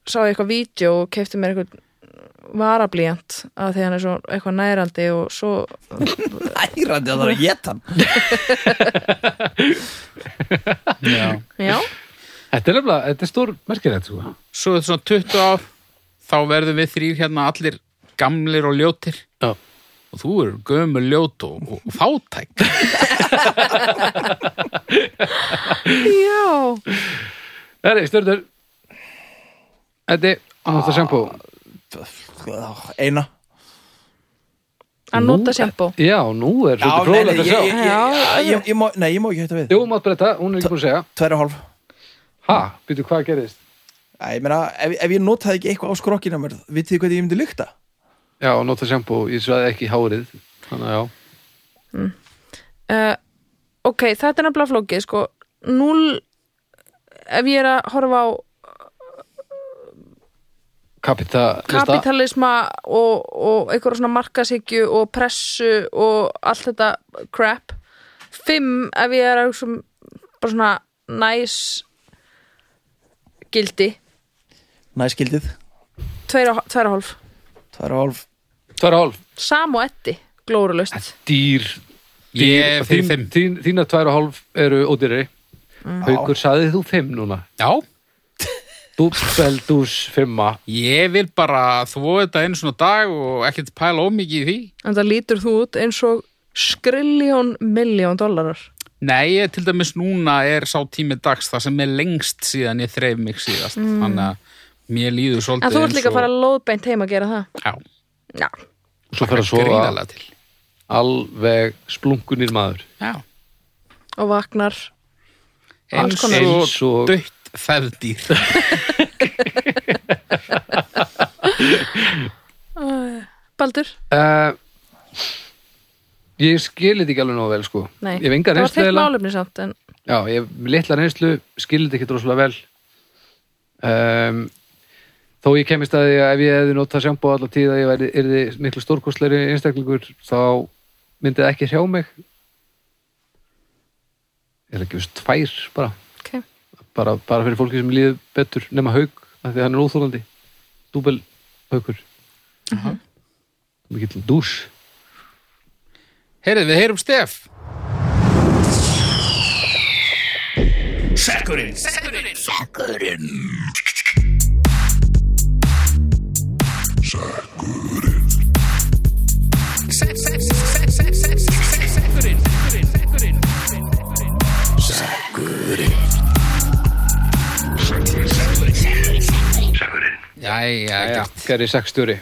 S1: sá ég eitthvað vídeo og kefti mér eitthvað varablíjant að því hann er svo eitthvað nærandi og svo
S3: Ærandi að það er að geta hann
S4: Já.
S1: já,
S2: þetta er nefnilega, þetta er stór merkilegt, sko.
S4: svo þetta svona 20 ár þá verðum við þrýr hérna allir gamlir og ljótir
S2: Já.
S4: og þú eru gömur ljót og, og, og fátæk
S1: já
S2: Herri, stjörnur. Þetta er, hann
S1: Ah.
S2: átt að sjampó.
S3: Eina
S1: að
S2: Nú-
S1: nota sjampó
S2: Já, nú er svolítið
S3: nei, nei,
S2: fróðlegt að
S3: ég,
S2: sjá.
S3: ég, ég, ég, ég, má, nei, ég má ekki hætta við
S2: Jú, mátt breyta, hún er ekki búin að segja
S3: Tværi og hálf
S2: Ha, býtu hvað gerðist?
S3: Æ, ég meina, ef, ef ég notaði ekki eitthvað á skrokkina mér vitið þið hvernig ég myndi lykta?
S2: Já, og nota sjampo, ég svaði ekki hárið Þannig að já,
S1: uh, ok, þetta er nefnilega flókið sko, núl ef ég er að horfa á
S2: kapita
S1: kapitalisma og, og einhverja svona markasyggju og pressu og allt þetta crap fimm ef ég er að hugsa um bara svona næs gildi
S3: Næskildið,
S1: tveira og hálf
S3: tværi og hálf
S2: Tvara hálf
S1: sam og etti, glórulust
S2: Dýr, dýr
S4: ég er fyrir fimm
S2: þín, Þína tvara hálf eru ódýrari
S1: Mm.
S2: Haukur, saði þú fimm núna
S4: já,
S2: Dúbbeldús fimma
S4: ég vil bara þvó þetta einu svona dag og ekkert pæla ómikið í því
S1: en það lítur þú út eins og skrilljón milljón dollarar
S4: nei, ég, til dæmis núna er sá tími dags það sem er lengst síðan ég þreif mig síðast þannig að mér
S1: Mm.
S4: líður
S1: en
S4: svolítið
S1: þú ert líka að fara lóðbeint heim að gera það
S4: já,
S1: já,
S2: Svo fyrir að sofa
S4: gríðarlega til
S2: alveg splunkunir maður
S4: já.
S1: og vaknar Alls
S4: eins
S1: konar.
S2: Eins
S4: og
S2: og-
S4: dött feðdýr
S1: Baldur,
S2: uh, Ég skilið ekki alveg nóg vel sko
S1: nei,
S2: Ég hef enga
S1: það var
S2: reynslu
S1: þitt
S2: eiginlega.
S1: málefni samt en
S2: Já, ég hef litla reynslu, skildi ekki droslega vel um, Þó ég kemist að því að ef ég hefði notað sjampó alla tíð að ég væri yrði miklu stórkostleiri einstaklingur þá myndið ekki hrjá mig Ég er ekki veist tvær bara,
S1: ok,
S2: bara bara fyrir fólki sem líður betur nema haug af því að hann er óþólandi dúbel haukur Mikill dús
S4: heyrðu, við heyrum Stef Jæja,
S2: Jæja,
S4: Jæja.
S2: gerði sextjóri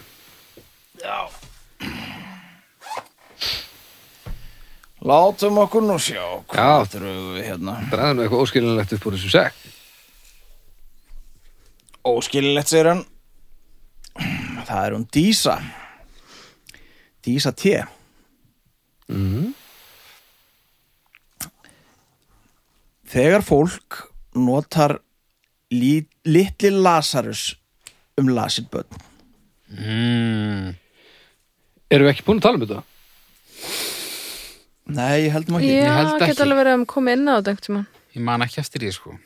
S3: Látum okkur nú sjá
S2: Já.
S3: hvað þurfum við hérna
S2: Draðan eitthvað óskilinlegt upp úr þessu sekk
S3: Óskililegt, segir hann Það er hún Dísa Dísa T Þegar fólk notar lí, litli Lazarus um lasin börn
S4: mm.
S2: Erum við ekki búin að tala um þetta?
S3: Nei, ég heldum ekki
S4: Ég
S1: Já,
S4: held ekki.
S1: geta alveg verið að koma inn á þetta einhvern tímann.
S4: Ég man ekki eftir því sko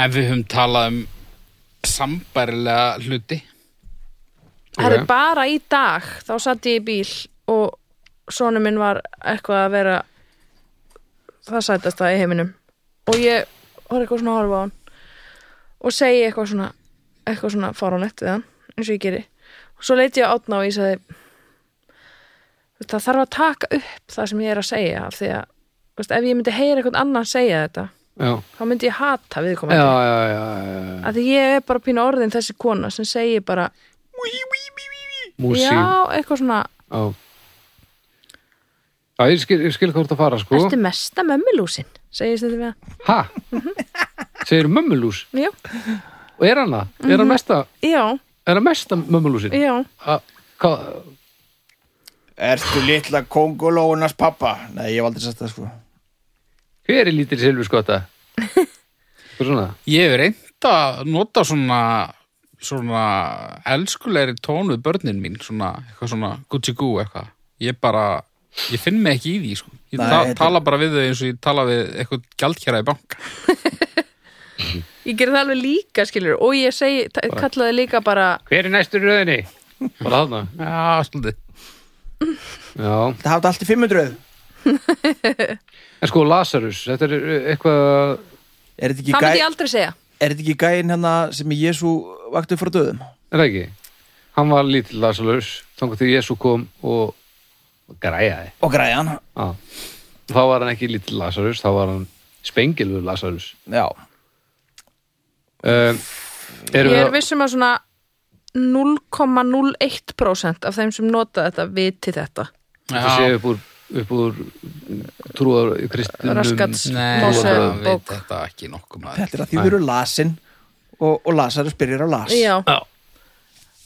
S4: En við höfum talað um sambærilega hluti
S1: Það er bara í dag, þá satt ég í bíl og sonu minn var eitthvað að vera það sætast það í heiminum og ég var eitthvað svona að horfa á hann og segi eitthvað svona eitthvað svona faranett við hann eins og ég geri og svo leit ég á átna og ég sagði "Þú veist, það þarf að taka upp það sem ég er að segja af því að þú veist, ef ég myndi heyra eitthvað annan segja þetta
S2: Já,
S1: þá myndi ég hata
S2: já,
S1: viðkomandi
S2: já, já, já, já.
S1: af því ég er bara pínu orðin þessi kona sem segir bara
S2: Músík
S1: já, eitthvað svona
S2: Já Já, ég skil, ég skil hvað þú ert að fara sko
S1: Ertu mesta mömmulúsin, segist þetta við hann.
S2: Ha? Segir mömmulús
S1: Já,
S2: Og er hann það? Er hann mesta,
S1: já,
S2: er hann mesta mömmulúsin?
S1: Mhm. já.
S2: Ha, hvað-
S3: Ertu litla kongulóunas pappa? Nei, ég hef aldrei sagt það sko
S2: Hver er lítil silfurskotta? Hvað svona?
S4: Ég hef reynd að nota svona svona elskulegri tón við börnin mín svona, eitthvað svona Gucci Goo eitthvað ég bara, ég finn mig ekki í því sko. ég
S3: Nei,
S4: ta
S3: þetta-
S4: tala bara við þau eins og ég tala við eitthvað gjaldkjara í banka
S1: Ég gerði það alveg líka, skilur, og ég segi, ta- kallaði líka bara,
S2: Hver er næstur röðinni? Bara þarna
S4: Já, svolítið
S2: Já,
S3: Það hafði allt í 500
S2: en sko Lazarus Þetta er uh, eitthvað
S3: Er þetta ekki,
S1: það myndi ég
S3: gæ...
S1: aldrei segja.
S3: er þetta ekki gæin hérna sem er Jésu vaktu frá döðum?
S2: Er það ekki? Hann var lítill Lazarus Þannig til Jésu kom og og græjaði
S3: Og græjan,
S2: Já. Þá var hann ekki lítill Lazarus Þá var hann spengilur Lazarus
S3: já
S2: um, Erum
S1: Ég
S2: við
S1: er
S2: að
S1: vissum að svona 0,01% af þeim sem nota þetta viti þetta.
S2: þetta sé
S4: Já,
S2: upp úr, upp úr trúar kristinum
S1: Raskats,
S4: nei,
S1: má
S4: það
S1: segja,
S4: veit
S1: bók.
S4: þetta ekki nokkuð maður
S3: Þetta er að því þau eru lasin og, og Lazarus byrjar að las
S1: Já.
S2: Já.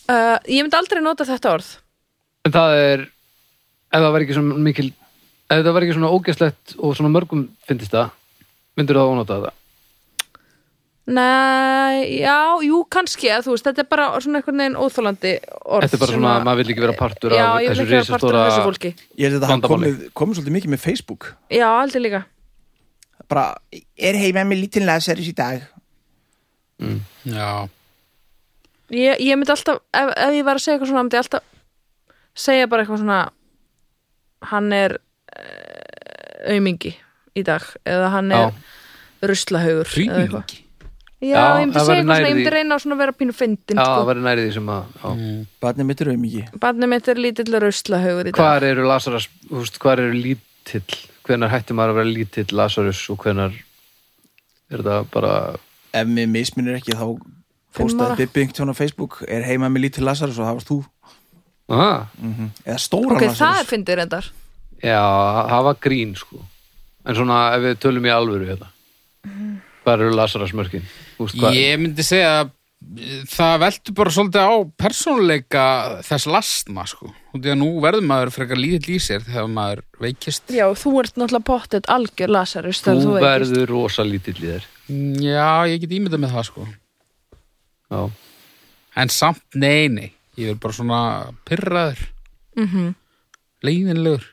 S1: Uh, ég myndi aldrei nota þetta orð.
S2: En það er ef það var ekki svona mikil ef það var ekki svona ógæslegt og svona mörgum fyndist það, myndir það ónota það
S1: Nei, já, jú, kannski, að þú veist, þetta er bara svona einhvern veginn óþólandi orð.
S2: Þetta er bara
S1: sem
S2: svona,
S1: að-
S2: maður vill ekki vera partur af
S1: Já, ég vil
S2: þessu
S1: ekki vera partur af
S2: risastóra-
S1: þessu fólki.
S3: Ég held að það hafi
S2: Vandamáli.
S3: komið, komið svolítið mikið með Facebook
S1: Já, aldrei líka.
S3: Bara, er heima með lítinn Lazarus í dag
S4: Já,
S1: Ég, ég myndi alltaf, ef, ef ég var að segja eitthvað svona, myndi ég alltaf segja bara eitthvað svona hann er eh, aumingi í dag eða hann
S2: Já.
S1: er ruslahaugur eða eitthvað.
S4: hrýmingi
S1: Já,
S2: Já,
S1: ég myndi segja eitthvað
S2: það væri
S1: svona,
S2: nær
S1: ég myndi
S2: því.
S1: reyna á svona að vera pínu fyndin,
S2: Já, það
S1: sko.
S2: verður nærið því sem að já.
S3: Barnið mitt er auðmikið
S1: Barnið mitt er lítill ruslahaugur í dag.
S2: Hvar eru Lazarus, þú veist, hvar eru lítill hvenar hættir maður að vera lítill Lazarus og hvenar er það bara
S3: Ef mér misminir ekki þá
S1: ára.
S3: postaði Bibbi einhvern á Facebook er heima með lítinn Lazarus og það varst þú
S2: aha,
S3: eða stóran
S1: Ok, það er
S3: Lazarus
S1: fyndið reyndar.
S2: Já, það var grín sko En svona ef við tölum í alvöru hérna Hvar eru Lazarus mörkin? Þú veist, hvað-
S4: Ég myndi segja að eh, það veldur bara svolítið á persónuleika þess lastna sko. og því að nú verður maður frekar lítill í sér þegar maður veikist
S1: Já, þú ert náttúrulega pottet algjör lasarist
S2: Þú
S1: þegar þú veikist.
S2: verður rosa lítill í þér
S4: Já, ég get ímyndað með það sko.
S2: Já,
S4: en samt nei, nei ég er bara svona pyrraður mm -hmm. leiðinlegur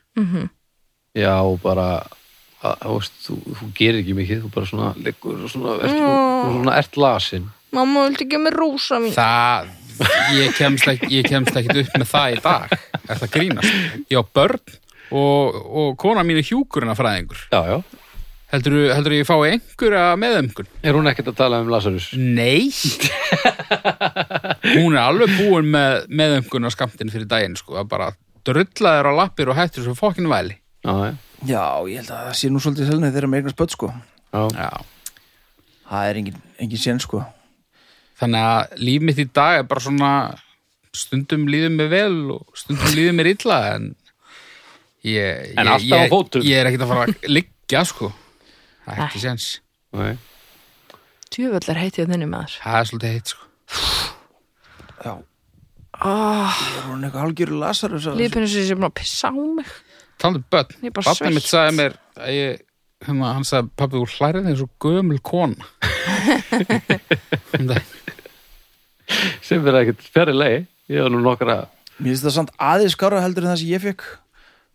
S2: já og bara að, þú, veist, þú, þú gerir ekki mikið þú bara svona liggur og svona ert, mm. svona ert lasin
S1: Mamma vildi ekki með rúsa mín.
S4: það, ég kemst, ekki, ég kemst ekki upp með það í dag er það grínast ég á börn og, og kona mín er hjúkurina fræðingur
S2: Já, já
S4: heldur, heldur ég fái einhverja meðumkun
S2: Er hún ekkert að tala um Lazarus? (laughs)
S4: Nei Hún er alveg búin með, með umguna skamtin fyrir daginn sko, að bara drulla þér á lappir og hættur svo fokkin væli
S2: Já, já,
S3: Já, ég held að það sé nú svolítið selnið þeirra með eignast börn sko
S2: já.
S4: Já.
S3: Það er engin, engin sén sko
S4: Þannig að líf mitt í dag er bara svona stundum líður mér vel og stundum líður mér illa en ég,
S2: En
S4: ég,
S2: alltaf á
S4: ég,
S2: fótum.
S4: ég er ekkert að fara að liggja sko Það er ekki sens
S2: Nei.
S1: Tjöfell er heitið þenni maður.
S4: Það er svolítið heitt sko
S3: Já,
S1: Oh,
S3: ég er hún eitthvað algjöru lasar
S1: Lífinu sem sé búin að pissa á mig.
S4: Talandi um börn,
S1: Ég er bara
S4: barnið mitt
S1: sveitt.
S4: sagði mér að ég, hérna, hann sagði pappi, þú hlærið þeir svo gömul
S1: (laughs)
S4: kona Um daginn.
S2: sem verða ekkert fjarri lei ég var nú nokkra
S3: Mér finnst það samt aðeins skára heldur en það sem ég fekk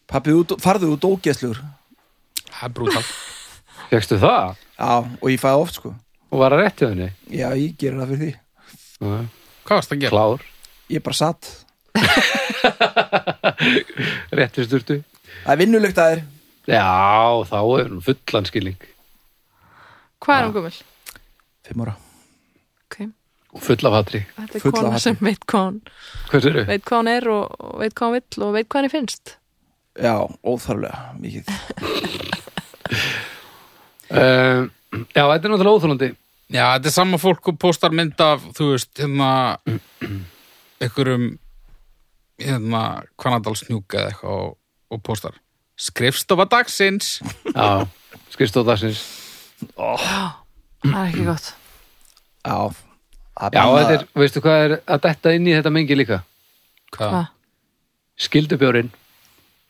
S3: Pappi, þú dó- farðu út ógeðslugur
S4: Það er brútal
S2: fegstu það
S3: Já, og ég fæði oft sko
S2: og var að rétti henni
S3: Já, ég gerir það fyrir því
S2: Nei,
S4: Hvað varst það að gera?
S2: klár,
S3: Ég bara satt
S2: rétti sturtu
S3: Það er vinnulegt að þér
S2: já, þá er nú fullan skilning
S1: Hvað er hún gummul?
S3: Fimm ára
S1: Ok,
S2: og full af hatri
S1: þetta er
S3: Full af
S1: kona
S3: hatri.
S1: sem veit hvað hún,
S2: hvers eru?
S1: veit hvað hún er og, og veit hvað hún vill og veit hvað henni finnst.
S3: Já, óþarflega mikið
S2: Uh, já, þetta er náttúrulega óþólandi
S4: Já, þetta er sama fólk og postar mynd af, þú veist, hérna einhverjum hérna, Kvanadalsnjúka eða eitthvað og, og postar Skrifstofa dagsins
S2: já, skrifstóð dagsins
S1: Það er ekki gott.
S3: Já, það
S2: já,
S3: bara-
S2: þetta er, veistu hvað er að detta inn í þetta mengi líka
S4: Hvað?
S1: Hvað?
S2: skildubjórin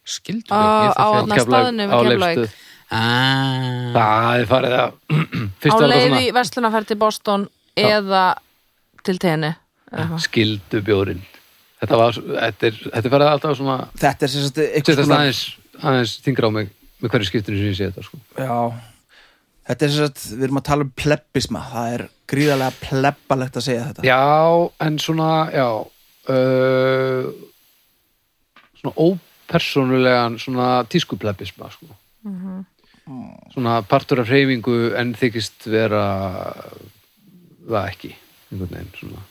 S4: Skildu
S1: Á- á
S2: á
S1: Þarna staðnum í Keflavík.
S2: Leifsstöð.
S4: ah,
S2: það er farið að
S1: Á
S2: (clears throat) fyrst var
S1: leið
S2: þetta
S1: í verslunarferð til Boston eða til tenni.
S2: svona skildubjórin þetta var, þetta er, þetta er farið alltaf svona
S3: Þetta er sem sagt einhvers
S2: setjast
S3: konar
S2: aðeins, aðeins þingra á mig með hverju skiptinu sem ég sé þetta sko.
S3: Já Þetta er sem sagt, við erum að tala um plebbisma Það er gríðarlega plebbalegt að segja þetta
S2: já, en svona já uh, svona ópersónulegan svona tískuplebisma sko. svona partur af hreyfingu en þykist vera það ekki einhvern veginn svona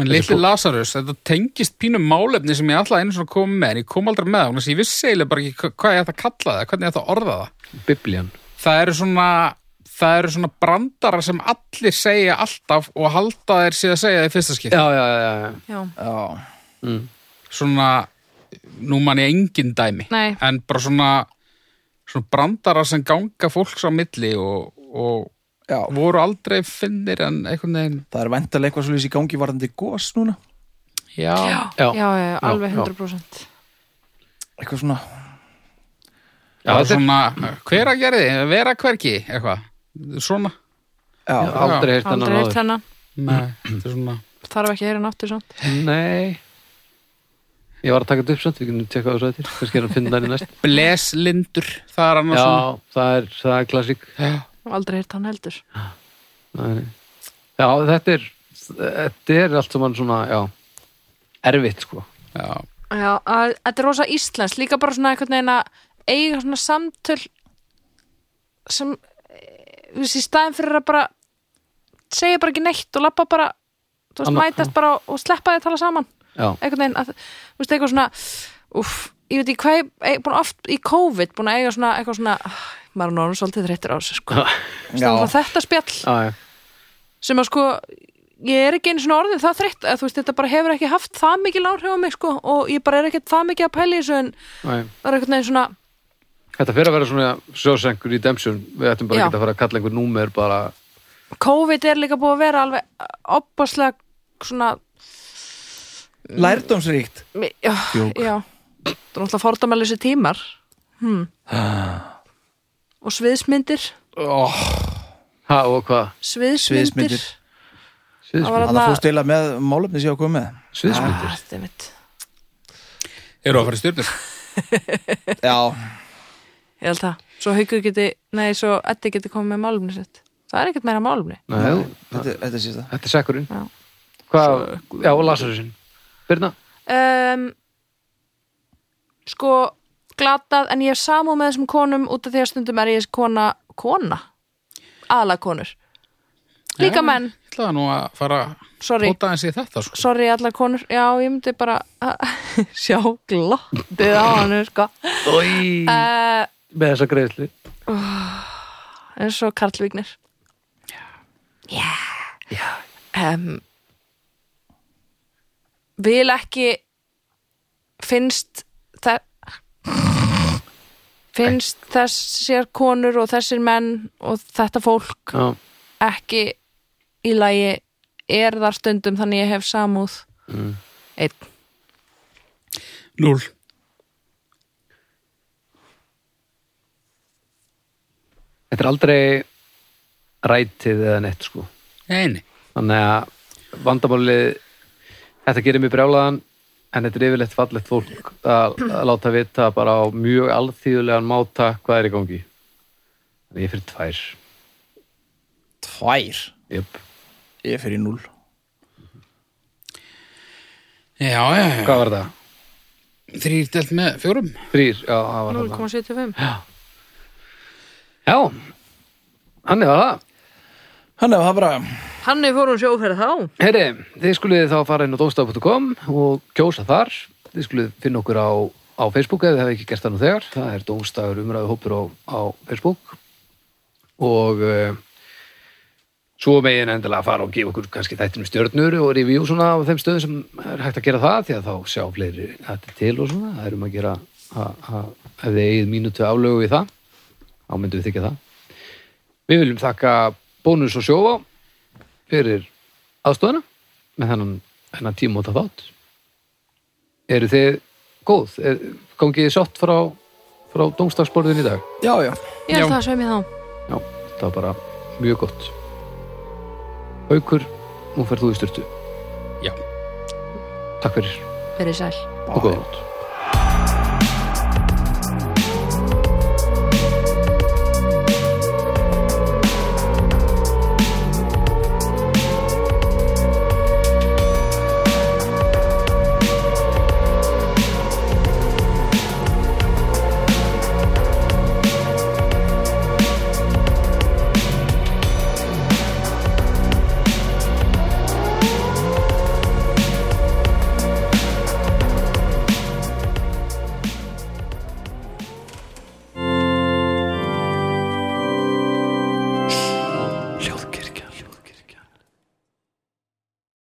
S4: En litli Lazarus, þetta tengist pínum málefni sem ég alltaf einu svona kom með en ég kom aldrei með það, þannig að ég vissi eiginlega bara ekki hva- hvað ég ætti að kalla það, hvernig ég ætti að orða það
S2: biblían
S4: Það eru svona það eru svona brandara sem allir segja alltaf og halda þeir séð að segja það í fyrsta skipti
S2: já, já, já, já.
S1: Já.
S3: Já,
S4: svona nú man ég engin dæmi
S1: Nei.
S4: en bara svona, svona brandara sem ganga fólks á milli og, og
S3: já
S4: voru aldrei finnir en einhvern veginn
S3: Það er væntalega eitthvað svolítið í gangi varðandi gos núna
S4: já,
S1: Já,
S2: Já.
S1: já, já, já, alveg
S2: já.
S1: 100%.
S3: Eitthvað svona
S4: já
S2: þetta er-
S4: svona hver að gerði, vera hvergi eitthvað, svona
S3: Já,
S2: Já, aldrei heyrt hennan
S1: Aldrei eitt
S2: áður
S1: hennan.
S4: Nei, þetta er svona
S1: Þarf ekki að heyra náttur samt.
S2: nei ég var að taka þetta upp samt, við kunum tjekka á þessu að til kannski er hann að finna það í næst
S4: bleslindur, það er annars svona
S2: já, það er, það er klassík
S4: Já.
S1: Aldrei heyrt hann heldur.
S2: Nei. Já, þetta er þetta er allt saman svona, já erfitt, sko
S4: já,
S1: Já, að- þetta er rosa Íslands, líka bara svona einhvern veginn að eiga svona samtöl sem, eh, þú veist, í staðin fyrir að bara segja bara ekki neitt og lappa bara, þú veist,
S2: Anna-
S1: mætast bara og- og sleppa því að tala saman,
S2: já,
S1: einhvern veginn, að, þú veist, eitthvað svona, uff, ég veit ekki hvað, ég- ég er búin oft í COVID, búin að eiga svona, eitthvað svona, ah, maður er náttúrulega svolítið þreyttur á þessu, sko,
S3: Já.
S1: standa þetta spjall
S2: já, já,
S1: sem að sko ég er ekki einu svona orðið það þreytt að þú veist þetta bara hefur ekki haft það mikil áhrif á mig sko og ég bara er ekkert það mikið að pæla í þessu en
S2: já.
S1: það er einhvern veginn svona
S2: Þetta fyrir að vera svona sjósengur í demsjón við ættum bara
S1: Já.
S2: ekki að fara að kalla einhver númer bara,
S1: COVID er líka búið að vera alveg opaslega svona
S3: Lærdómsríkt
S1: já,
S3: Djók.
S1: já það er náttúrulega fordamæli þessi tímar hmm. og sviðsmyndir
S3: oh,
S2: ha og hvað
S3: Sviðsmyndir.
S1: sviðsmyndir, það var Ah,
S3: Þannig að
S1: alltaf
S3: fórst eila með málefni sem ég á komið með
S2: sviðsmyndir,
S1: ég
S4: eru að fara í stjörnur
S3: Já,
S1: held það svo haukur geti, nei svo Eddi geti komið með málumni sitt það er ekkert meira málumni
S2: Nei, jú,
S3: þetta, þetta sést það
S2: þetta er sekkurinn
S1: Já.
S2: hvað, já, og Lazarusinn Birna,
S1: um, sko glatað en ég er samú með þessum konum út af því að stundum er ég kona kona, aðla konur líka
S4: Já,
S1: menn,
S4: Ég ætlaði nú að fara að
S1: sorry
S4: bóta eins í þetta sko.
S1: sorry allar konur, já ég myndi bara (laughs) að sjá glottið á hann sko,
S2: Í,
S1: uh,
S2: með þessa greiðsli
S1: eins og Karl Vignir já já um, vil ekki finnst þe- finnst þessir konur og þessir menn og þetta fólk
S2: já,
S1: ekki í lagi er þar stundum þannig ég hef samúð einn
S4: Núl
S2: Þetta er aldrei rætið eða neitt sko
S4: Nei, nei
S2: Þannig að vandamálið þetta gerir mér brjálaðan en þetta er yfirleitt fallegt fólk að, að láta vita bara á mjög alþýðulegan máta hvað er í gangi Þannig að ég fyrir tvær
S3: Tvær
S2: Jöp.
S3: Ég fer í núl
S4: Já, já, já
S2: Hvað var það?
S4: Þrýr delt með fjórum
S2: Þrýr, já, það var það
S1: 0,75
S2: Já, hann var það
S3: Hann hefur það bara
S1: Hanni fór hún sjóferð þá
S2: Heyri, þið skulið þá fara inn á dómstaf.com og kjósa þar. Þið skulið finna okkur á, á Facebook ef þið hefði ekki gert það nú þegar. Það er dómstafur umræðu hópur á, á Facebook. Og uh, svo megin endilega fara og gefa okkur kannski þættinum stjörnur og review svona á þeim stöðum sem er hægt að gera það því að þá sjá fleiri þetta til og svona. Það er um að gera að, að, ef þið eigið mínútu aflögu í það. Þá myndum við þykja það. Við viljum þakka Bónus og Sjóvá fyrir aðstofuna með þennan, þennan tíma út af þátt eru þið góð er, gangið þið sátt frá, frá dómstagsborðin í dag
S3: Já, já
S1: Ég
S4: Já.
S1: held það sem ég þá
S2: já, það var bara mjög gott Haukur, nú ferð þú í styrtu
S4: Já
S2: takk fyrir
S1: Verið sæl
S2: og góða nótt